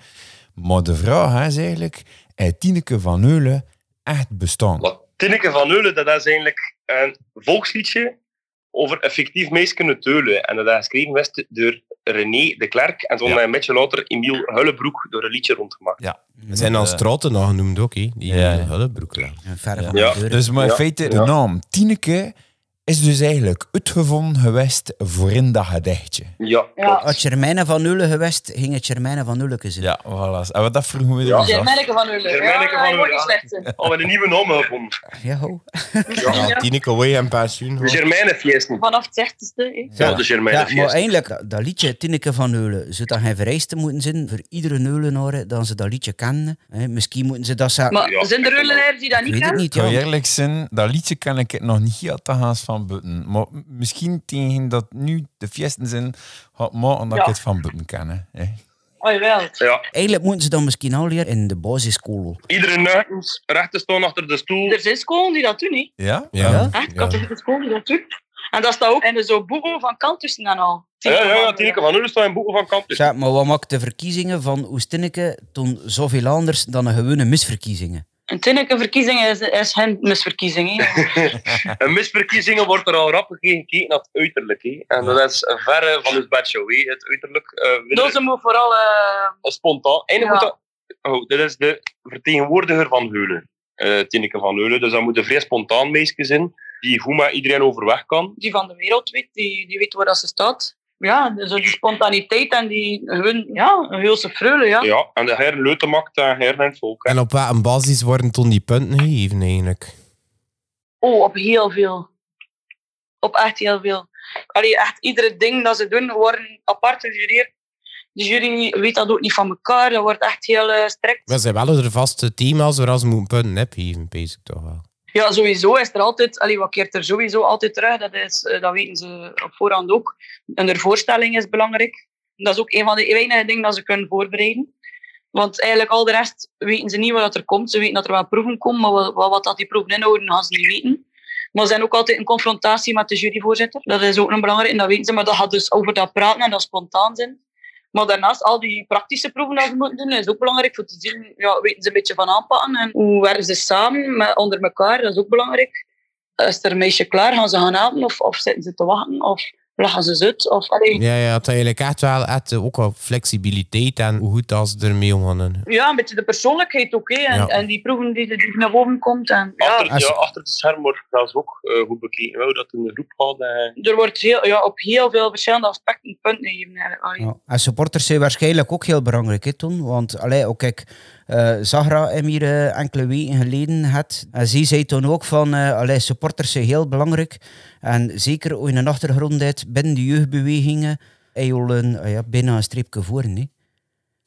Maar de vraag is eigenlijk, heeft Tineke van Heulen echt bestaan? wat Tinneke van Eulen, dat is eigenlijk een volksliedje over effectief meisje kunnen teulen. En dat is geschreven werd door René de Klerk. En toen Ja. een beetje later Emiel Hullebroek door een liedje rondgemaakt. We zijn dan eh, straten nog genoemd ook, hè? Die Ja. Hullebroek. Ja. Een verre van Ja, de deur. Dus maar in Ja, feite, de ja. naam Tineke is dus eigenlijk uitgevonden geweest voor in dat gedichtje. Ja, Ja. klopt. Als Germijnen van Nulle geweest, ging het Germijnen van Nulleke zijn. Ja, voilà. En wat dat vroegen we dus, er Ja. ons af. Germanneke Dus van Ulle. Germanneke Ja, van ik word Ulle, niet ja. slecht. hè. Al met een nieuwe naam gevonden. Ja, ho. Ja, Tineke Way en pensioen. Germijne Fies niet. Vanaf het zestigste, hè. Ja, de Germijne Ja, maar Fies. eigenlijk, dat- dat liedje Tinneke van Heulen, zou dat geen vereiste moeten zijn voor iedere Heulenaar dat ze dat liedje kennen? Hè, misschien moeten ze dat... Ze... Maar Ja. zijn er Ullenaars die dat ik niet weet het kennen? niet, Ik ga ja. eerlijk zijn, dat liedje kan ik het nog niet uit de haas van Butten. Maar misschien tegen dat nu de fiesten zijn, had maar omdat ik Ja. het van Butten ken. Hè. Eh. Oh, jawel. Ja, Eigenlijk moeten ze dan misschien al leren in de basisschool. iedere nuitens recht te staan achter de stoel. Er zijn scholen die dat doen, hè. Ja? Ja. Echt, ik had er een school die dat doen. En dat staat ook in zo'n boeken van kant tussen en al. Ja, ja, ja, Tineke van Ulle staat in boeken van kamp. Dus Ja, maar wat maakt de verkiezingen van Oestinneke toen zoveel anders dan een gewone misverkiezingen? Een tinneke verkiezing is, is geen *laughs* misverkiezing. Hè. Een misverkiezingen wordt er al rap gekeken naar het uiterlijk. Hè. En dat is verre van het bedshow. hè. Het uiterlijk eh, willen- Dus ze moet vooral... eh, spontaan. En je Ja. moet dat... Oh, dit is de vertegenwoordiger van Heulen. eh Tineke van Heulen. Dus dat moet een vrij spontaan meisje zijn. Die goed met iedereen overweg kan. die van de wereld weet, die, die weet waar dat ze staat. Ja, dus die spontaniteit en die hun, ja, een heelse freule, ja. Ja, en de heren leuten maakt en heren en het volk. En op welke basis worden toen die punten gegeven eigenlijk? Oh, op heel veel. Op echt heel veel. Allee, echt iedere ding dat ze doen, worden apart gejureerd. De jury weet dat ook niet van elkaar, dat wordt echt heel eh, strikt. We zijn wel er vaste thema's waar ze moeten punten hebben gegeven, bezig toch wel. Ja, sowieso is er altijd, allee, wat keert er sowieso altijd terug, dat, is, eh, dat weten ze op voorhand ook. En de voorstelling is belangrijk. Dat is ook een van de weinige dingen dat ze kunnen voorbereiden. Want eigenlijk al de rest weten ze niet wat er komt. Ze weten dat er wel proeven komen, maar wat, wat wat dat die proeven inhouden, gaan ze niet weten. Maar ze zijn ook altijd in confrontatie met de juryvoorzitter. Dat is ook een belangrijk en dat weten ze. Maar dat gaat dus over dat praten en dat spontaan zijn. Maar daarnaast, al die praktische proeven die ze moeten doen, is ook belangrijk voor te zien, ja, weten ze een beetje van aanpakken en hoe werken ze samen met, onder elkaar, dat is ook belangrijk. Is er een meisje klaar, gaan ze gaan helpen of, of zitten ze te wachten of lachen ze zut? Of, allee, Ja, ja, het is eigenlijk echt wel echt, eh, ook wel flexibiliteit en hoe goed als ze ermee omgaan. ja, een beetje de persoonlijkheid ook, hè, en, Ja. en die proeven die, die naar boven komt. En, ja, Achter, ja, als- achter het scherm wordt zelfs ook eh, goed bekeken. Hoe dat in de groep gaat. eh. er wordt heel, ja, op heel veel verschillende aspecten punten gegeven. eigenlijk, allee. Ja. En supporters zijn waarschijnlijk ook heel belangrijk hè, toen. Want allee, ook kijk, eh Zahra hem hier eh, enkele weken geleden had. En zij zei toen ook van, eh allee, supporters zijn heel belangrijk. En zeker in een achtergrond hebt binnen de jeugdbewegingen, hij al een, ah ja, bijna een streepje voor. hè.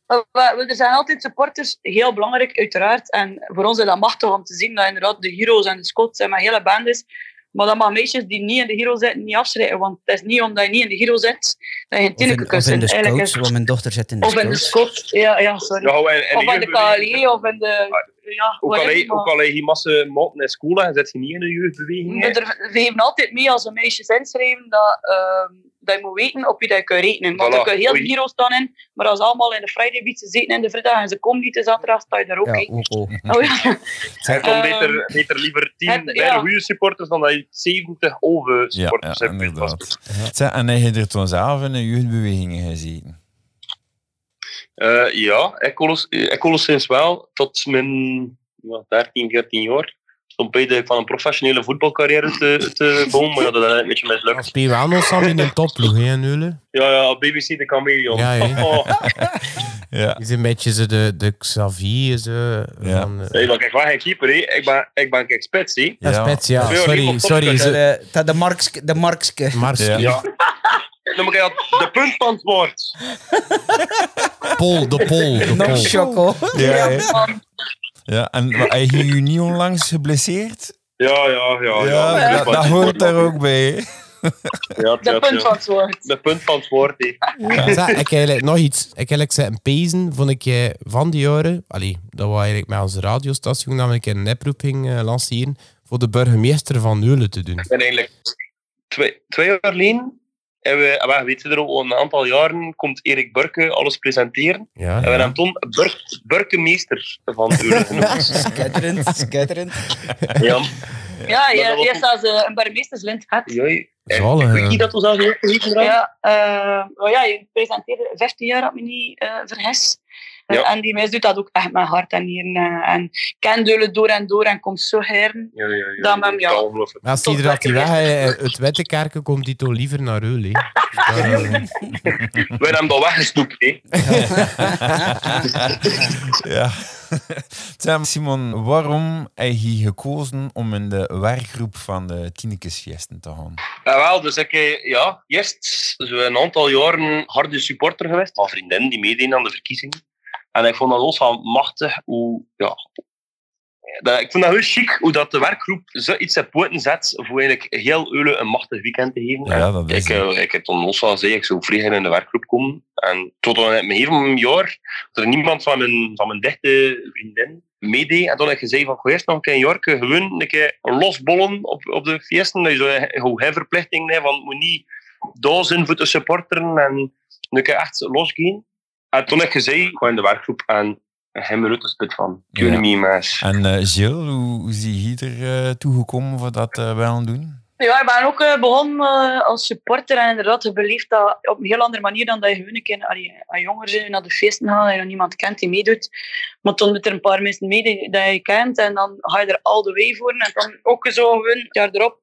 Eh, we- Er zijn altijd supporters, heel belangrijk uiteraard. En voor ons is dat machtig om te zien dat inderdaad de heroes en de scots en mijn hele band is. Maar dat mag meisjes die niet in de hero zitten niet afschrijven. Want het is niet omdat je niet in de hero zit dat je geen Of in, tinneke kunt of in zijn. de Eigenlijk scouts, is- want mijn dochter zit in de Of in de scouts. scots, ja, ja sorry. Ja, en, en of in de jeugdbeweging. KLE, of in de... Ja, Ah, Ook al whatever, hij- maar- Ook al hij die massa maten in school en zit je niet in de jeugdbeweging. hè. We er- we geven altijd mee als we meisjes inschrijven dat, ehm, dat je moet weten op wie dat je kunt rekenen. Want Voilà, er kunnen heel oei. de heroes staan in, maar als ze allemaal in de Friday Beats zitten in de vrijdag en ze komen niet de zaterdag, sta je daar ook Ja, in. ook al. Oh ja. Hij kon Ehm, beter, beter liever 10 het- bij ja. de goede supporters dan dat je 70 over supporters ja, hebt. inderdaad. Zeg, en hij heeft er toen zelf in de jeugdbewegingen gezeten. Eh, ja, ik kon ons- ik kon ons sinds wel tot mijn ja, 13, 14 jaar. Stond bij de, van een professionele voetbalcarrière te, te bomen, maar ja, dat is een beetje Dan mislukt. spelen we wel nog samen in een topploeg, hè, Nule? Ja, ja, BBC de Chameleon. Ja, hè. *laughs* Oh, Ja. Is een beetje ze de, de Xavier, ze... Ja. Van, eh, nee, maar kijk, waar geen keeper, hè. Ik ben, ik ben kijk spits, hè. ja, Spets, ja. Ja. Sorry, sorry. Dat, Ze, eh, dat de Markske. De Markske. Mars, Ja. Ja. noem ik dat de puntpantwoord. Pol, de pol, de *laughs* Nog pol. choco. Ja, ja. man. ja. En maar hij ging u niet onlangs geblesseerd? Ja, ja, ja. Ja, Oh, ja, dat, dat hoort daar ook bij. Ja, De ja, ja. puntpantwoord. De puntpantwoord, hè. Zeg, ik eigenlijk nog iets. Ik eigenlijk zitten pezen, vond ik eh, van die jaren... Allee, dat was eigenlijk met onze radiostation namelijk een oproep ging eh, lanceren voor de burgemeester van Neulen te doen. En eigenlijk twee, twee jaar geleden, en we, ah, en we weten er al een aantal jaren, komt Erik Burke alles presenteren. Ja. En we hebben toen Bur Burkemeester van *laughs* Eulen genoemd. Skitterend, skitterend. ja, Ja, dat ja, was eerst als eh, een barmeesterslint had. ja, ik Zalig, weet ja. niet dat we zelf ook gezien hebben. Ja, eh, maar ja, je presenteerde 15 jaar, had me niet eh, vergis. Eh, Ja. en die meis doet dat ook echt met hart en nieren. eh, en ken Deulen door en door en komt zo heren. Ja, ja, ja. Dan met hem, ja. Ongelooflijk. Maar als die er dat die weg eh, uit Wettekerken komt, die toch liever naar Eulen. hè. Dus daar, eh, We hebben hem dat weggesnoept, hè. *laughs* Ja. Zeg, Simon, waarom heb je gekozen om in de werkgroep van de Tinekesfiesten te gaan? Ja, wel, dus ik, eh, ja, eerst zo een aantal jaren harde supporter geweest van vriendinnen die meededen aan de verkiezingen. En ik vond dat ook van machtig hoe, ja, dat, ik vond dat heel chic hoe dat de werkgroep zoiets op poten zet voor eigenlijk heel Eulen een machtig weekend te geven. Ja, dat is ik, eh, ik heb toen los van gezegd, ik zou vliegen in de werkgroep komen. En tot aan het begin van mijn jaar, dat er niemand van mijn, van mijn dichte vriendin meedeed. En toen heb ik gezegd van, goh, eerst nog een keer in Jorke, gewoon een keer losbollen op, op de feesten. Dat je zo een- gewoon geen verplichting hebt, want moet niet daar zijn voor te supporteren. En een keer echt losgaan. En toen heb ik gezegd, ik ga in de werkgroep en hem eruit de spit van. You Ja. know me, maas. En eh, Gilles, hoe, hoe zie je er eh, toegekomen voor dat eh wel doen? Ja, ik ben ook eh, begonnen eh, als supporter en inderdaad, je beleeft dat op een heel andere manier dan dat je gewoon een keer allee, als jonger bent naar de feesten gaat en je nog niemand kent die meedoet. Maar dan doet er een paar mensen mee die, die je kent en dan ga je er al de way voor. En dan ook zo gewoon het jaar erop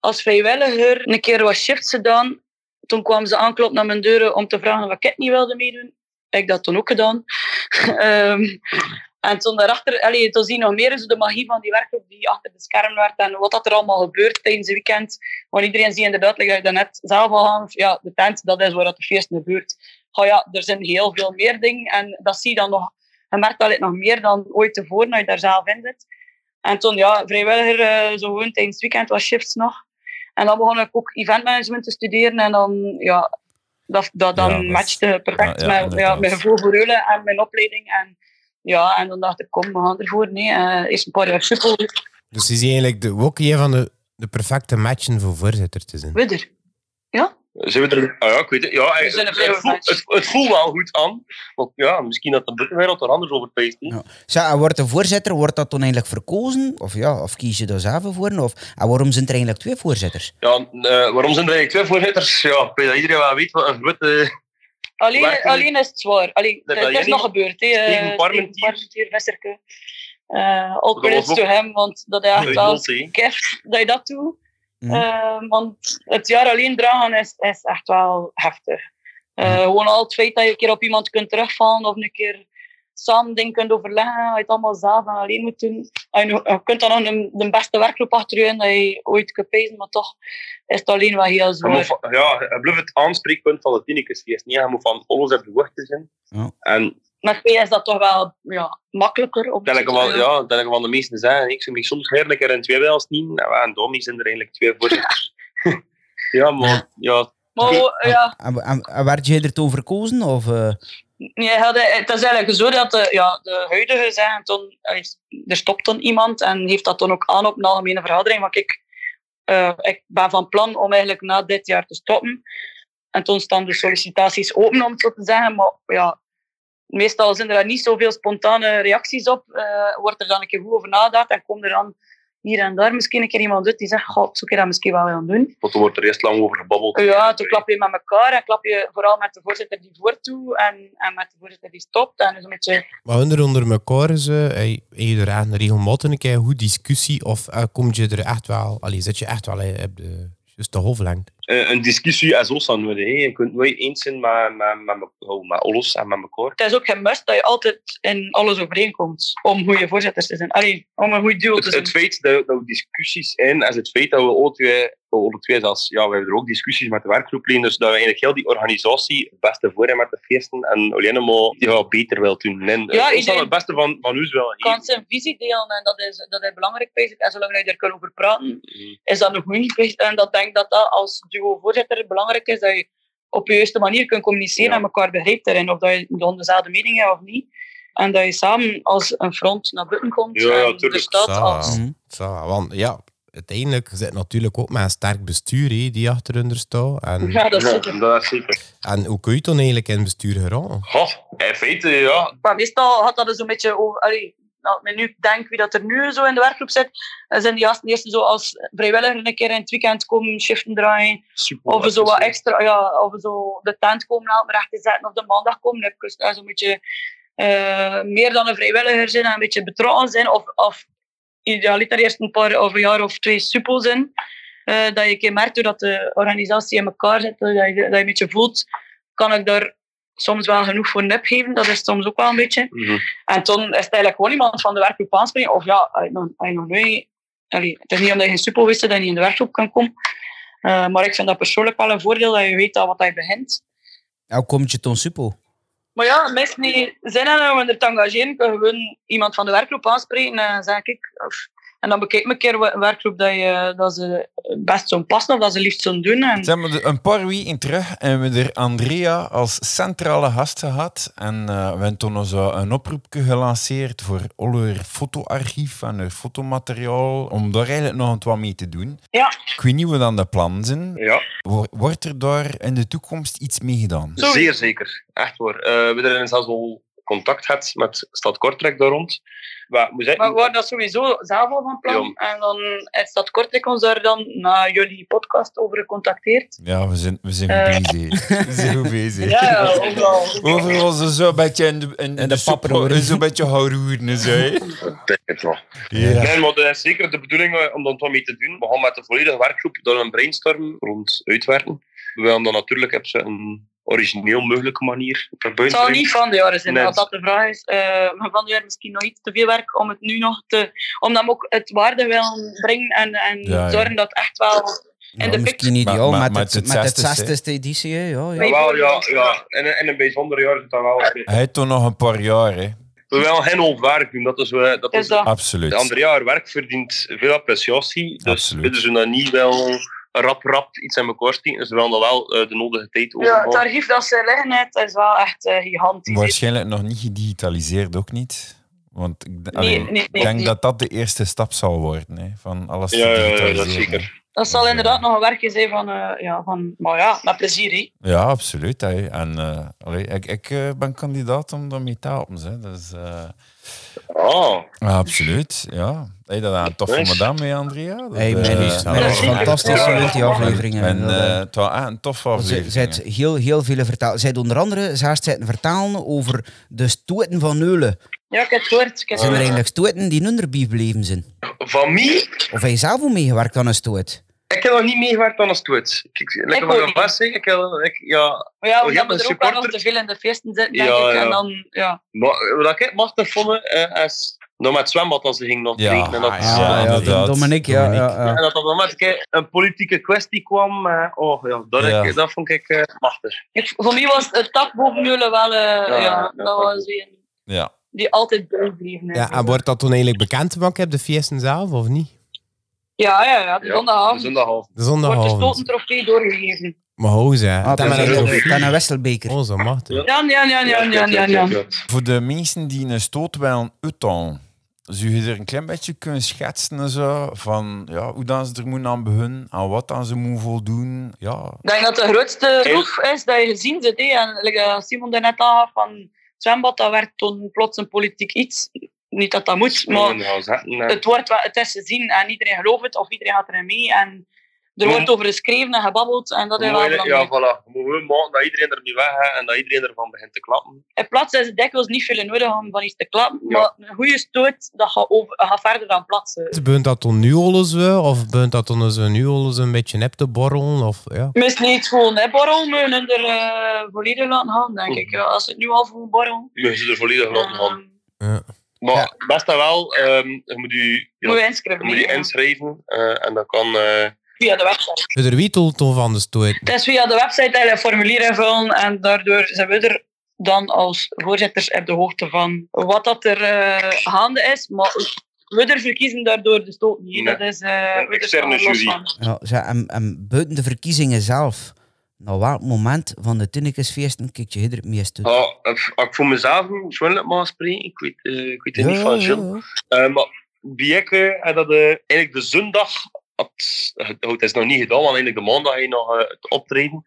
als vrijwilliger een keer wat shifts gedaan. Toen kwamen ze aankloppen naar mijn deuren om te vragen wat ik niet wilde meedoen. Ik heb dat toen ook gedaan. *laughs* Ehm, en toen daarachter, allee, toen zie je nog meer zo de magie van die werkgroep die achter de schermen werd en wat dat er allemaal gebeurt tijdens het weekend. Want iedereen ziet inderdaad, like dat je daarnet zelf al aangaf, ja, de tent, dat is waar dat de feesten gebeurt. Oh ja, er zijn heel veel meer dingen en dat zie je dan nog, je merkt dat het nog meer dan ooit tevoren als je daar zelf in zit. En toen, ja, vrijwilliger, eh, zo gewoon tijdens het weekend, was shifts nog. En dan begon ik ook eventmanagement te studeren en dan, ja, dat, dat dan Ja, dat is- matchte perfect Ja, ja, met ja, inderdaad. mijn gevoel voor Eulen en mijn opleiding. En, ja, en dan dacht ik, kom, we gaan ervoor. Nee, eh, eerst een paar jaar suppel, Dus is hij eigenlijk de wokkie van de, de perfecte matchen voor voorzitter te zijn. Widder. Zijn we er... Ah ja, ik weet het. Ja, We het, zijn een het, voelt, vrijwilligersmatch. het, het voelt wel goed aan. Want ja, misschien dat de buitenwereld er anders over peest. hè. Ja. Zeg, en wordt de voorzitter, wordt dat dan eigenlijk verkozen? Of ja, of kies je daar zelf voor? Of, en waarom zijn er eigenlijk twee voorzitters? Ja, eh, waarom zijn er eigenlijk twee voorzitters? Ja, ik weet dat iedereen wel weet wat een grote... Waar Alleen, kun je- alleen is het zwaar. Alleen, Dat het wil is je nog niet. gebeurd. hè. Eh, Steven Parmentier. Steven Parmentier, Westerke. Eh all Dat was credits ook- to hem, want dat *laughs* hij echt wel Lot, hè. keft dat je dat doet. Mhm. Eh, want het jaar alleen dragen is, is echt wel heftig. Eh, Gewoon al het feit dat je een keer op iemand kunt terugvallen of een keer samen dingen kunt overleggen, dat je het allemaal zelf en alleen moet doen. En je, je kunt dan nog een- de beste werkgroep achter je in dat je ooit kunt pezen, maar toch is het alleen wel heel Je zwaar. moet van- Ja, het blijft het aanspreekpunt van de Tinekesfeest. Nee, je moet van alles op de hoogte zijn. Ja. En met P is dat toch wel ja, makkelijker. Op dat ik wel, ja, dat ik wel de meesten zijn. Ik zou me soms heerlijker in twee wijls niet. Nou, en Domi zijn er eigenlijk twee voorzitters. *laughs* ja, maar... Ja, Maar we- ja, En, en, en werd jij er toen verkozen? Of, eh, nee, hadden, het is eigenlijk zo dat de, ja, de huidige zeggen, toen, allee, er stopt dan iemand en heeft dat dan ook aan op een algemene vergadering. Want ik, eh, ik ben van plan om eigenlijk na dit jaar te stoppen. En toen staan de sollicitaties open, om het zo te zeggen. Maar ja, meestal zijn er daar niet zoveel spontane reacties op. Eh, wordt er dan een keer goed over nagedacht en komt er dan hier en daar misschien een keer iemand uit die zegt, god, zo kun je dat misschien wel gaan doen. want er wordt er eerst lang over gebabbeld. Ja, toen klap je met elkaar en klap je vooral met de voorzitter die voor toe en, en met de voorzitter die stopt. En dus een beetje, Maar onder onder elkaar is, eh, hey, heb je er echt regelmatig een keer goed discussie of eh, kom je er echt wel, allee, zit je echt wel eh, op de, juist de hoofdlengte? eh, een discussie als ons aan willen. hè. Je kunt nooit eens zijn met, met, met, met, oh, met alles en met elkaar. Het is ook geen must dat je altijd in alles overeenkomt om goede voorzitters te zijn. Allee, om een goed duo te Het, zijn. het feit dat, dat we discussies in, als het feit dat we alle twee, alle twee als, ja, we hebben er ook discussies met de werkgroepleiders, dus dat we eigenlijk heel die organisatie het beste voor hebben met de feesten en alleen maar ja, beter wil doen. En, eh, ons iedereen- dan het beste van, van ons wel kan zijn visie delen en dat is, dat is belangrijk, vind ik. En zolang je daar kan over praten, is dat nog moeilijk. geweest. En dat denk ik dat dat als duo-voorzitter belangrijk is, dat je op de juiste manier kunt communiceren Ja. en elkaar begrijpt daarin. Of dat je dan dezelfde mening hebt of niet. En dat je samen als een front naar buiten komt. Ja, ja, en tuurlijk. er staat Zo. als... Mhm. Zo, want ja, uiteindelijk zit natuurlijk ook met een sterk bestuur hé, die achter hun er staat. En, Ja, dat is Ja, zeker. dat is zeker. en hoe kun je dan eigenlijk in bestuur geraken? Goh, in feite, ja. Maar meestal had dat dus een beetje over... Allee, als ik nu denk wie dat er nu zo in de werkgroep zit, dan zijn die gasten eerst zo als vrijwilliger een keer in het weekend komen, shiften draaien. Super. Of we zo wat extra, ja, of we zo de tent komen helpen recht te zetten of de maandag komen hupjes. En zo'n beetje eh, meer dan een vrijwilliger zijn en een beetje betrokken zijn. Of, of idealiter eerst een paar of een jaar of twee suppel zijn. Eh, dat je een keer merkt doordat de organisatie in elkaar zit, dat je, dat je een beetje voelt, kan ik daar soms wel genoeg voor nep geven. Dat is soms ook wel een beetje. Mhm. En toen is het eigenlijk gewoon iemand van de werkgroep aanspringen. Of ja, als je nog- als je nog nooit... Allee, het is niet omdat je geen suppel wist dat je niet in de werkgroep kan komen. Eh, maar ik vind dat persoonlijk wel een voordeel dat je weet al wat je begint. Nou komt je ton suppel. Maar ja, mensen die zin hebben om er te engageren, kunnen gewoon iemand van de werkgroep aanspreken en zeg ik. of- en dan bekijk me een keer wat werkgroep dat, je, dat ze best zo'n passen of dat ze liefst zo'n doen. En, Zijn we er een paar weken terug en we er Andrea als centrale gast gehad. En eh, we hebben toen ons eh, een oproepje gelanceerd voor al haar fotoarchief en haar fotomateriaal. Om daar eigenlijk nog wat mee te doen. Ja. Ik weet niet wat dan de plannen zijn. Ja, Wo- Wordt er daar in de toekomst iets mee gedaan? Sorry. zeer zeker. Echt hoor. Eh, we hebben zelfs al contact gehad met Stad Kortrijk daar rond. Maar, moet zeggen, maar we waren dat sowieso zelf al van plan. En dan is dat Kortrijk ons daar dan na jullie podcast over gecontacteerd. Ja, we zijn, we zijn Eh. goed *laughs* bezig. We zijn goed bezig. Ja, ja, overal. Overal zo- zo'n beetje in de, in, In de soep- paproeren. Zo'n beetje houroeren en zo. hè. Ik denk het wel. Ja. Nee, maar dat is zeker de bedoeling eh, om daar wat mee te doen. We gaan met de volledige werkgroep door een brainstorm rond uitwerken. We willen dan natuurlijk op een origineel mogelijke manier naar Het buiten zal brengen. niet van de jaren zijn, Nee. als dat de vraag is. Eh, maar van de jaren misschien nog iets te veel werk om het nu nog te... Om dan ook het waarde willen brengen en, en Ja, ja. zorgen dat echt wel... En de Nou, misschien ideaal Maar- maar- met, maar het, met het 60ste. zestigste editie. hè, Ja, ja. Nee. Jawel, ja, ja. In, een- in een bijzonder jaar zit dat wel. Hij heeft toch nog een paar jaar, hè? We willen geen ontwerp doen. Dat is, eh, dat Is is dat... Absoluut. De Andrea, haar werk verdient veel appreciatie. Dus Absoluut. willen ze dat niet wel rap rap iets aan elkaar steken. Dus we willen er wel eh, de nodige tijd over. Ja, het houden. archief dat ze liggen heeft, is wel echt eh, gigantisch. Waarschijnlijk nog niet gedigitaliseerd ook niet. Want ik, d- allee, nee, nee, ik denk nee. dat dat de eerste stap zal worden. Hè, van alles te Ja, ja, ja, dat digitaliseren. zeker. Dat zal Ja. inderdaad nog een werkje zijn van... eh, ja, van maar ja, met plezier, hè. Ja, absoluut. Hè. En eh, allee, ik, ik eh, ben kandidaat om daarmee te helpen. Hè. Dus, eh, Ah, ja, absoluut, ja. Hey, dat is een toffe Nice. madame mee, Andrea. Dat, Hey, eh, mijn is, mijn is ja. fantastisch Ja. met die afleveringen. En, Dat, eh, eh, het was echt een toffe Ze aflevering. ze heeft heel, heel veel vertaald. Zij heeft onder andere zaast zitten vertalen over de stoeten van Neulen. Ja, ik heb het gehoord. Ik heb Zijn er het gehoord. eigenlijk stoeten die nunderbief bleven zijn? van mij? Of heb je zelf ook meegewerkt aan een stoet? Ik heb nog niet meegewerkt aan een stoet. Ik, lekker ook wat ik niet. vast zeg, ik, heb- ik, ja, Maar ja, Oh, je omdat hebt we een er ook wel nog supporter? te veel in de feesten zitten, denk Ja, ik. En ja. dan, ja. maar wat ik machtig vond, eh, is nog met het zwembad als ze ging nog Ja, ah, drinken. En dat, Ja, ja, inderdaad. Ah, Dominique, ja. Dominique. ja, ja. en dat op dat moment eh, een politieke kwestie kwam. eh, oh ja, dat, Ja. Ik, dat vond ik eh, machtig. Ik, voor mij was het tak boven Meulen wel... eh, ja, ja, dat was weer een- Ja. die altijd bijbleven. hè. Ja, en wordt dat dan eigenlijk bekend gemaakt op de feesten zelf, of niet? Ja, ja, ja. De Ja, zondagavond de zondagavond. De wordt de zondagavond. stotentrofee doorgegeven. Maar hoe ze? Ah, dat dat ben is ik ook ook. weer. Dan een Wesselbeker. Oh, zo machtig. Ja. Ja, ja, ja, ja, ja, ja, ja. Voor de mensen die een stoot willen uithalen, zou je er een klein beetje kunnen schetsen en zo, van ja, hoe dan ze er moeten aan beginnen, aan wat dan ze moeten voldoen. Ja, Ik denk dat de grootste roef is dat je gezien zit. Hé. En like dat Simon daarnet aangaf van het zwembad, dat werd toen plots een politiek iets. Niet dat dat moet, maar Maar, het, wordt, wel- het is gezien en iedereen gelooft het of iedereen gaat erin mee. En Er wordt over geschreven en gebabbeld en dat is wel Mooi, belangrijk. ja, voilà. We moeten maken dat iedereen ermee weg gaat en dat iedereen ervan begint te klappen. In plaats is het dikwijls niet veel nodig om van iets te klappen, Ja. maar een goede stoot dat gaat, over, gaat verder dan plaatsen. Beunt Dus dat dan nu alles wel? Of beunt dat dan zo nu alles een beetje nep te borrelen? Of, ja. Mist niet gewoon hè, borrel, maar hun er eh, volledig laten gaan, denk Mhm. ik. Ja, als het nu al voor borrel. Je zit er volledig rond van. ehm, Maar Ja. best dan wel, ehm, je moet je, ja, Moet je je, inschrijven. moet je ja. inschrijven eh, en dat kan... eh, Via de website. Dus Er wietelt dan van de stoet. Het is via de website dat je een formulier invullen en daardoor zijn we er dan als voorzitters op de hoogte van wat dat er eh, gaande is. Maar we er verkiezen daardoor dus ook niet. Nee. Dat is, eh, Een we er externe staan er los jury. van. Ja, ze- en, en buiten de verkiezingen zelf, na welk moment van de Tinnekesfeesten kijk je hier het meest uit? Ja, ik- ik voor mezelf moet het maar spreken. Ik weet, eh, ik weet het niet van Jill. ja. Eh, maar bij ik, eh, had dat eh, eigenlijk de zondag, had, oh, het het is nog niet gedaan, want eigenlijk de maandag heb je nog eh, het optreden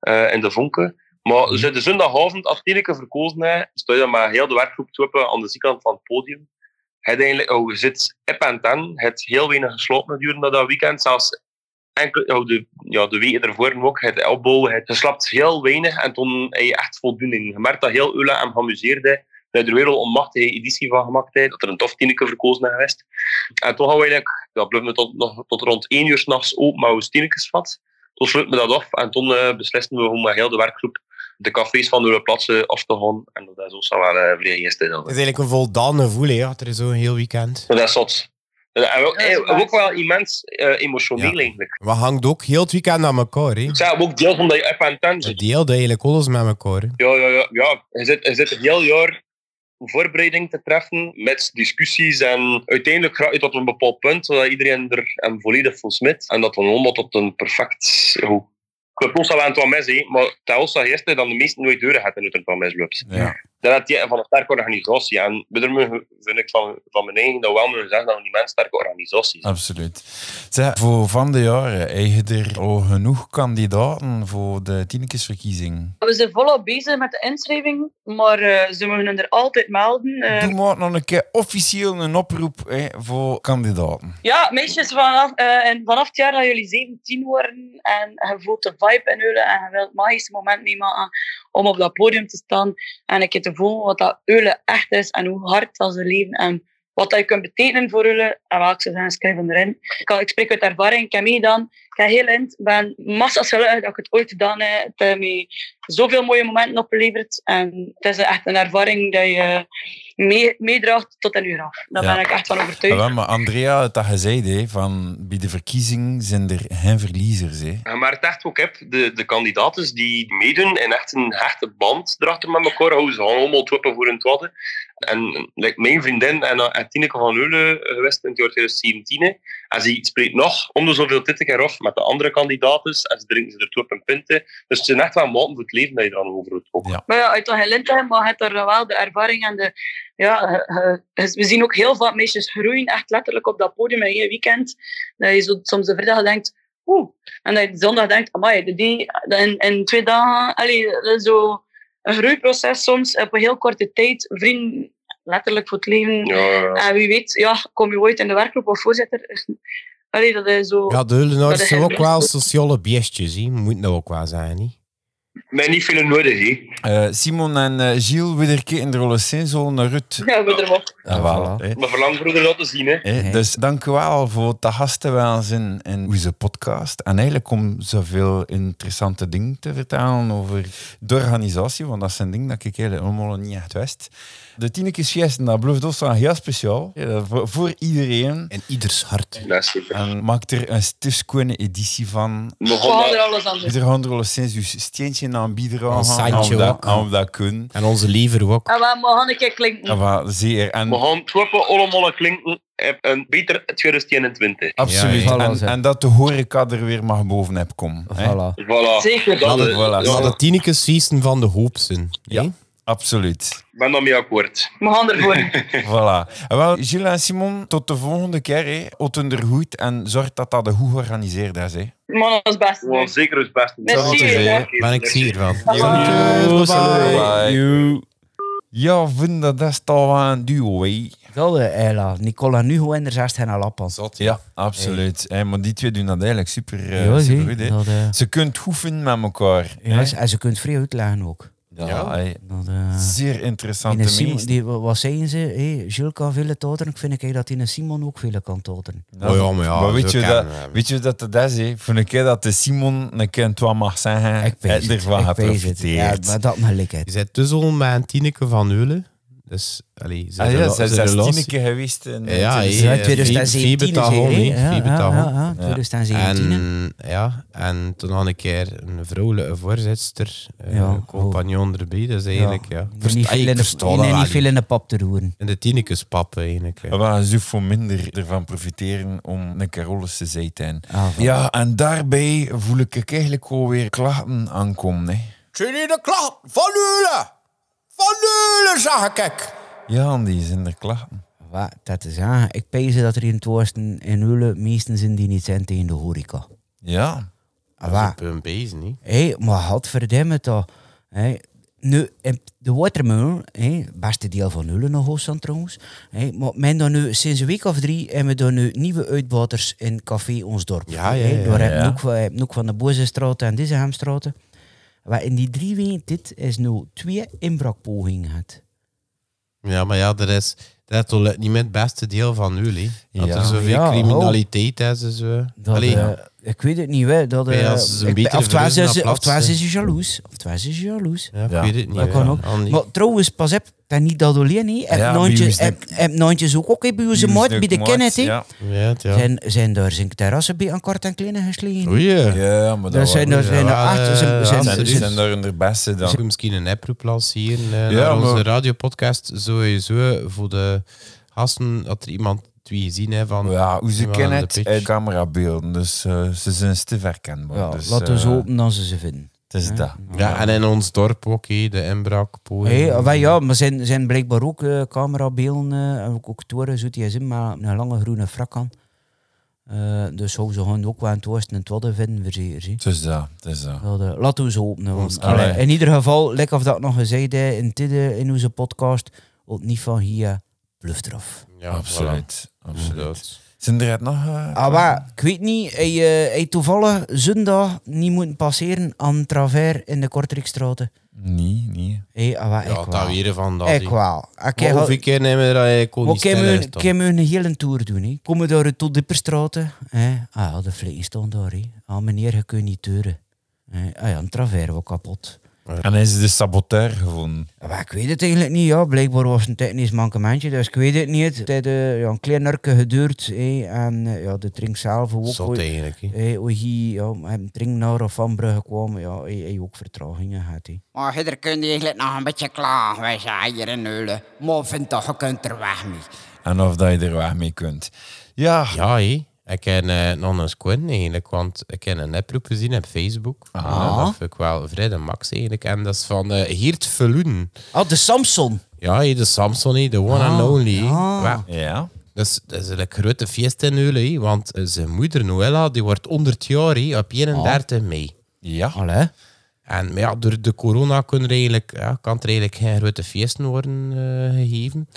eh, in de Vonken. Maar ze de zondagavond, als Tineke verkozen heeft, sta je dan met heel de werkgroep toepen aan de zijkant van het podium. Het eigenlijk, oh, je zit ep en ten, het heel weinig geslapen gedurende dat weekend, zelfs enkel, oh, de, ja, de weken ervoor ook, het opbouwen, het geslapt heel weinig en toen heb je echt voldoening. Je merkt dat heel Ula hem geamuseerd heeft. Dat er weer al een machtige editie van gemaakt heeft, dat er een tof tieneke verkozen is geweest. En toch hadden we eigenlijk, ja, bleef me tot, nog, tot rond één uur s'nachts open met ons tienekesvat. Toen sloot me dat af en toen eh, beslisten we om met heel de werkgroep de cafés van de plaatsen af te gaan. En dat is ook wel eh vrij gisteren. Het is eigenlijk een voldane voelen, ja. Er is zo'n heel weekend. Maar dat is zot. En ook, Ja, dat is eh, ook waar. wel immens eh, emotioneel Ja. eigenlijk. Maar hangt ook heel het weekend aan elkaar, hè. Het zijn ook deel van dat je app aan het ten Het zit. deelt eigenlijk alles met elkaar, hè. Ja, ja, ja. ja. Je, zit, je zit een heel jaar voorbereiding te treffen met discussies en uiteindelijk raak je tot een bepaald punt dat iedereen er hem volledig vol smit en dat dan allemaal tot een perfect... Goed. Ik heb ons al aan het wat mes, hè, maar telkens dat gisteren dan de meesten nooit deuren gaat en het van mes loopt. Ja. Dan had je van een sterke organisatie en we er mogen- vind ik van, van mijn eigen dat we wel moeten zeggen dat we niet mensen sterke organisaties zijn. Absoluut. Zeg, voor van de jaren, heb je er al genoeg kandidaten voor de Tienekesverkiezing? We zijn volop bezig met de inschrijving, maar eh, ze mogen er altijd melden. Eh, Doe maar nog een keer officieel een oproep hè, voor kandidaten. Ja, meisjes, vanaf, eh, en vanaf het jaar dat jullie 17 worden en je voelt de vibe in Eulen en je wilt het magische moment meemaken om op dat podium te staan en een keer te voelen wat dat Eulen echt is en hoe hard dat ze leven en wat dat je kunt betekenen voor Eulen en welke ze zijn, schrijf erin. Ik, kan- ik spreek uit ervaring, ik heb meegedaan, ik heb heel in, ben massa's gelukkig dat ik het ooit gedaan heb. Het heeft mij zoveel mooie momenten opgeleverd en het is echt een ervaring dat je mee- meedraagt tot in je graf. Daar Ja. ben ik echt van Ja, overtuigd. wel, maar Andrea had dat gezegd, hè, van bij de verkiezing zijn er geen verliezers. Hè. Ja, Maar het echt ook heb, de, de kandidaten die meedoen en echt een hechte band erachter met elkaar houden. Ze gaan allemaal twippen voor hun twadden. En eh, like mijn vriendin en, eh, en Tineke van Heulen eh, geweest in het jaar 2017. En ze spreekt nog om de zoveel tijd een keer af met de andere kandidaten. En ze drinken ze er twippen en pinten. Dus het zijn echt wel maten voor het leven dat je er aan over het ook. Ja. Maar ja, uit dat gelint hebben, maar je hebt daar wel de ervaring en de... Ja, je- je- we zien ook heel vaak meisjes groeien, echt letterlijk op dat podium in één weekend. Dat je zo, soms de vrijdag denkt, oeh. En dat je de zondag denkt, amai, die- die, in, in twee dagen... Allee, dat is zo een groeiproces soms, op een heel korte tijd. Vrienden, letterlijk voor het leven. Ja, ja, ja. En wie weet, ja, kom je ooit in de werkgroep of voorzitter? Allee, dat is zo... Ja, de Hullenaars Maar zijn dat- ook wel sociale beestjes, hè. Moet dat ook wel zijn, hè. Mij niet veel nodig, hè. Eh, Simon en eh, Gilles, weer een keer in de Rolle Sinzel naar Rut. Ja, we er wel. Ja, wel, hè. Maar verlang vroeger dat te zien, hè. Hè, Ah, Nee. Dus dank u wel voor het gasten wel zijn en hoe ze podcast. En eigenlijk om zoveel interessante dingen te vertellen over de organisatie, want dat zijn dingen dat ik eigenlijk helemaal niet echt wist. De Tinekes Fiesten, dat blijft ons wel heel speciaal. eh, voor, voor iedereen. En ieders hart. Dat is super. En maak er een stiefskoene editie van. We We gaan gaan eh, er dat- alles aan doen. Ieder handel al sinds uw steentje aan bieden Een aan. centje dat, ook. aan we dat kunnen. En onze liever ook. En we gaan een keer klinken. En wat zeer. En we gaan twippen, allemaal klinken. Heb Een beter 2021. Absoluut. Ja, ja. Voilà, en, zeg. en dat de horeca er weer mag bovenop komen. hè. Voilà. Voilà. Zeker. Dat Voilà. is- Voilà. ja, Laat de tienekes feesten van de hoop zijn. Ja. hè. *laughs* Absoluut. Ik ben daarmee akkoord. We gaan ervoor. Voilà. En wel, Gilles en Simon, tot de volgende keer. hè. Houdt hun er goed en zorg dat dat goed georganiseerd is. Hè. Man, ons best. Gewoon zeker het beste. Merci, Dat is hè. zeer. Ben ik zeer van. Bye. Groetjes, Bye. Ja, vind dat is toch wel een duo. hè. Dat we Ella. eh, Nicola Nugo en de zegt hen al appels. Zot. Ja, absoluut. Hè, maar die twee doen dat eigenlijk super, eh, Ja, zie. supergoed, hè. Dat, eh, Ze kunt goed vinden met elkaar. hè. ja, en ze kunt vrij uitleggen ook. Ja, Ja. hè. Dat, eh, Zeer in een interessante Simon, meest. die, wa- wat zeiden ze? Hey, Jules kan veel toteren. Ik vind ik, hey, dat die een Simon ook veel kan toteren. Oh ja, maar ja, weet, zo je dat, kennen we hem. weet je dat dat is? hè? Voor een keer dat de Simon een keer wat mag zeggen, Ik weet hij het. ervan Ik weet het. Ja, geprofiteerd. maar dat mag ik het. Je zit dus al met een tieneke van Hulen. Dus, allee, ze Ah, ja, rela- ze is ze relatie- zestien keer geweest. in- Ja, ja, in- Ze zijn eh, 2017 Phoebe is Tahon, hij, hè? hè? Ja, Phoebe ja, Tahon. ja, ja, 2017. hè. En, ja, en toen had ik een keer een vrouwelijke voorzitter, eh, Ja, compagnon erbij. Dat is eigenlijk, ja. Die Niet Ah, ik veel in de- versta die dat niet wel veel in de pap te roeren. En de tienekes pap eigenlijk. hè. Ja, Maar ze hoeft voor minder ervan profiteren om een Carolus te zijn. Ah, voilà. Ja, en daarbij voel ik eigenlijk alweer klachten aankomen. Hè. Jullie de klacht van Ulen! Van Ulen, zag ik! Ja, en die zijn er klachten. Wat, dat is aan. Ik pijs dat er in het oosten in Hulen meesten zijn die niet zijn tegen de horeca. Ja. Ah, wat? Op hun bezig, niet? Hé, maar godverdamme toch. Hé, nu, in de watermeul, hé, beste deel van Hulen nog Hoogstand trouwens. Hé, maar men dan nu, sinds een week of drie hebben we dan nu nieuwe uitbaters in Café Ons Dorp. Ja, ja, Hé, ja, Door ja. hebben we ook, we hebben ook van de Bozenstraat en deze Hemstraten. Maar in die drie weken, dit is nu twee inbraakpogingen gehad. Ja, maar ja, er is... Dat is toch niet met het beste deel van jullie. Dat Ja. er zoveel Ja, criminaliteit is en zo. Dat, Allee, eh, ik weet het niet, hè. Dat, Ja, eh, als ze een ik- beetje of het was verhuizen is- naar of het was plaats, is je jaloers. Of het was is je jaloers. ja, ik Ja, weet het niet. dat hè. kan ook. Andy. Maar trouwens, pas op, dat niet dat alleen, hè. Heb Ja, bij ons Noontjes- nek- heb- heb Noontjes ook, ook hè, bij onze maat, bij de Kenneth, hè. Ja. Ja, ja. Zijn, zijn daar zijn terrassen bij aan kort en kleine geslegen. Oei. ja, maar Daar dat zijn er waren- zijn er ja, acht. eh, zijn- ja, Zijn, zijn- er die is- zijn zijn- daar in de beste dan. Zou ik misschien een app lanceren eh, Ja, naar onze maar- radiopodcast. Sowieso voor de gasten, dat er iemand twee gezien heeft van... Ja, hoe ze Ja, kennen de het pitch. uit camerabeelden, dus eh, ze zijn stief herkenbaar. Ja, dus, laten we eh, ze hopen dat ze ze vinden. Het is dat. Ja, en in ons dorp ook, hè, de inbraak. poging. Hé, wel ja, maar zijn, zijn blijkbaar ook eh camerabeelden, eh, en ook, ook toren, zoet die zin, maar een lange groene frak aan. Eh, dus hou ze gewoon ook wel in het oosten en het wadden vinden, verzekerd. hè. Het is dat, het is dat. Dat, eh, laten we ze openen. Want, Allee. allee, in ieder geval, lekker of dat nog gezegd hè, in, tidde, in onze podcast, ook niet van hier, bluff eraf. Ja, absoluut. voilà. absoluut. Inderdaad. Mm. Zijn er het nog? eh, Ah, maar, ik weet niet, hij, eh, hij toevallig zondag niet moeten passeren aan Travers in de Kortrijkstraat. Nee, nee. Hé, ah, wat, Ja, ik dat wel. weer van dat. Ik hè. wel. Ik Maar ga- Hoeveel keer nemen we dat eigenlijk ook maar niet ik kan stil me- is ik dan? kan me een hele tour doen. Hè. Komen we door tot Dipperstraten. Hè. Ah, ja, de vlees stond daar. Hè. Ah, meneer, je kunt niet deuren. Hè. Ah ja, een Travers wel kapot. En hij is de saboteur gevonden. Maar ik weet het eigenlijk niet, ja. Blijkbaar was het een technisch mankementje, dus ik weet het niet. Het heeft eh, ja, een klein nurkje geduurd hé. en eh, ja, de drink zelf ook. Zot eigenlijk. hè. Hey, hoe hij ja, met een drink naar of van Brugge kwam, ja, hij, hij ook vertragingen had. hè. Maar hier kun je eigenlijk nog een beetje klagen. Wij zijn hier in Eulen. Maar vind toch, je kunt er weg mee. En of dat je er weg mee kunt. Ja. Ja, hé. Ik heb eh, nog een squint eigenlijk, want ik heb een oproep gezien op Facebook. Ja, dat vind ik wel vrij de max eigenlijk. En dat is van eh Geert Verloen. Ah, de Samson. Ja, hé, de Samson, hé, de one and only. hé. Ja. Ja. Dat is, dat is een grote feest in Eulen, hé, want eh, zijn moeder Noella die wordt 100 jaar hé, op 31 mei. Oh, Ja. Allee. En maar ja, door de corona kon er eigenlijk, ja, kan er eigenlijk geen grote feesten worden eh, gegeven.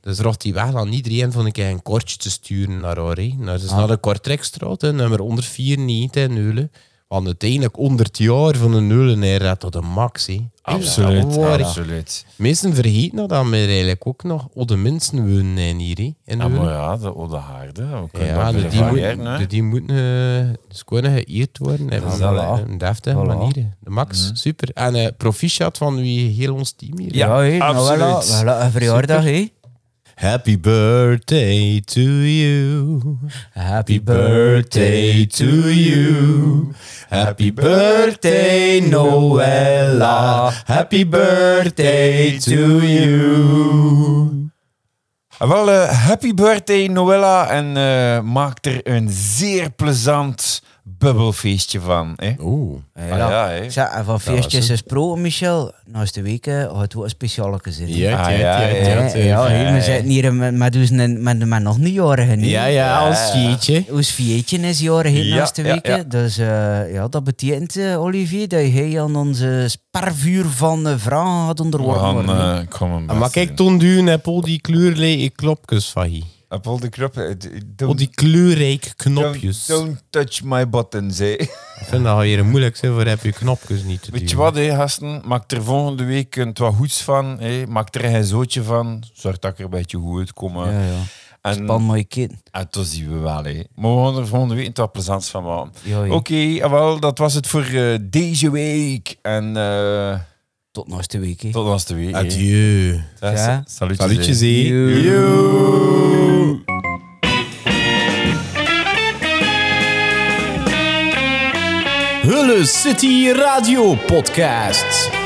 Dus rocht die weg aan iedereen vond ik een kortje te sturen naar haar. hè. Nou, dus naar de Kortrijkstraat, hè, nummer 194 in Neulen. Want uiteindelijk 100 jaar van de Neulen neer tot de max. hè. Ah, Absoluut. Ja, waar ik- absoluut. Meesten vergeten dat, dat we er eigenlijk ook nog Oh, de mensen wonen in hier. hè, in Ja, Neulen. Ah, maar ja, de Ode Haarde. We kunnen Ja, dat de weer die, variëren, moet, hè. de die moeten eh, dus kunnen geëerd worden. En is op dat, een- hè. een deftige Voilà. manier. De Max, super. En eh proficiat van wie heel ons team hier. Ja, hé, nou, absoluut. voilà, voilà, een verjaardag, hé. Happy birthday to you. Happy birthday to you. Happy birthday, Noella. Happy birthday to you. Ah, Wel, eh, happy birthday Noella en eh, maak er een zeer plezant bubbelfeestje van. Hè? Oeh. Ah, Ah, ja. ja, hè. Zeg, en van was feestjes het. is pro, Michel. Naast de week eh, gaat wel een speciale zitten. Ja, Ah, ja, ja, ja, ja, Hè, ja, ja. ja, hè, we zitten hier met, met, dus een- met, met nog een jarige nu. Ja, ja, als jeetje. Ons vietje is jaren heen Ja, naast de ja, weken. ja. Dus eh, ja, dat betekent, eh, Olivier, dat jij aan onze sparvuur van eh, vragen had We onderworpen gaan worden. hè. eh, ik ga mijn best Ah, Maar kijk, doen. toen duwen heb al die kleurrijke knopjes van hier. Appel de krop. eh, d- Al don't- die kleurrijke knopjes. Don't, don't touch my buttons, hè. Ik vind dat hier moeilijk zijn, voor heb je knopjes niet te Weet je duwen. wat, hè, gasten? Maak er volgende week een wat goeds van. Hè. Maak er geen zootje van. Zorg dat ik er een beetje goed uitkom. hè. Ja, ja. Span En, mooie kind. en dat zien we wel, hè. Maar we gaan er volgende week een wat plezants van maken. Ja, ja. Oké, ah, wel, dat was het voor eh, deze week. En eh Tot naast de week. hè. tot laatste week. hè. Adieu. Dag, Ja. Salutjes. hè. Salutjes, hé. Hulle City Radio Podcast.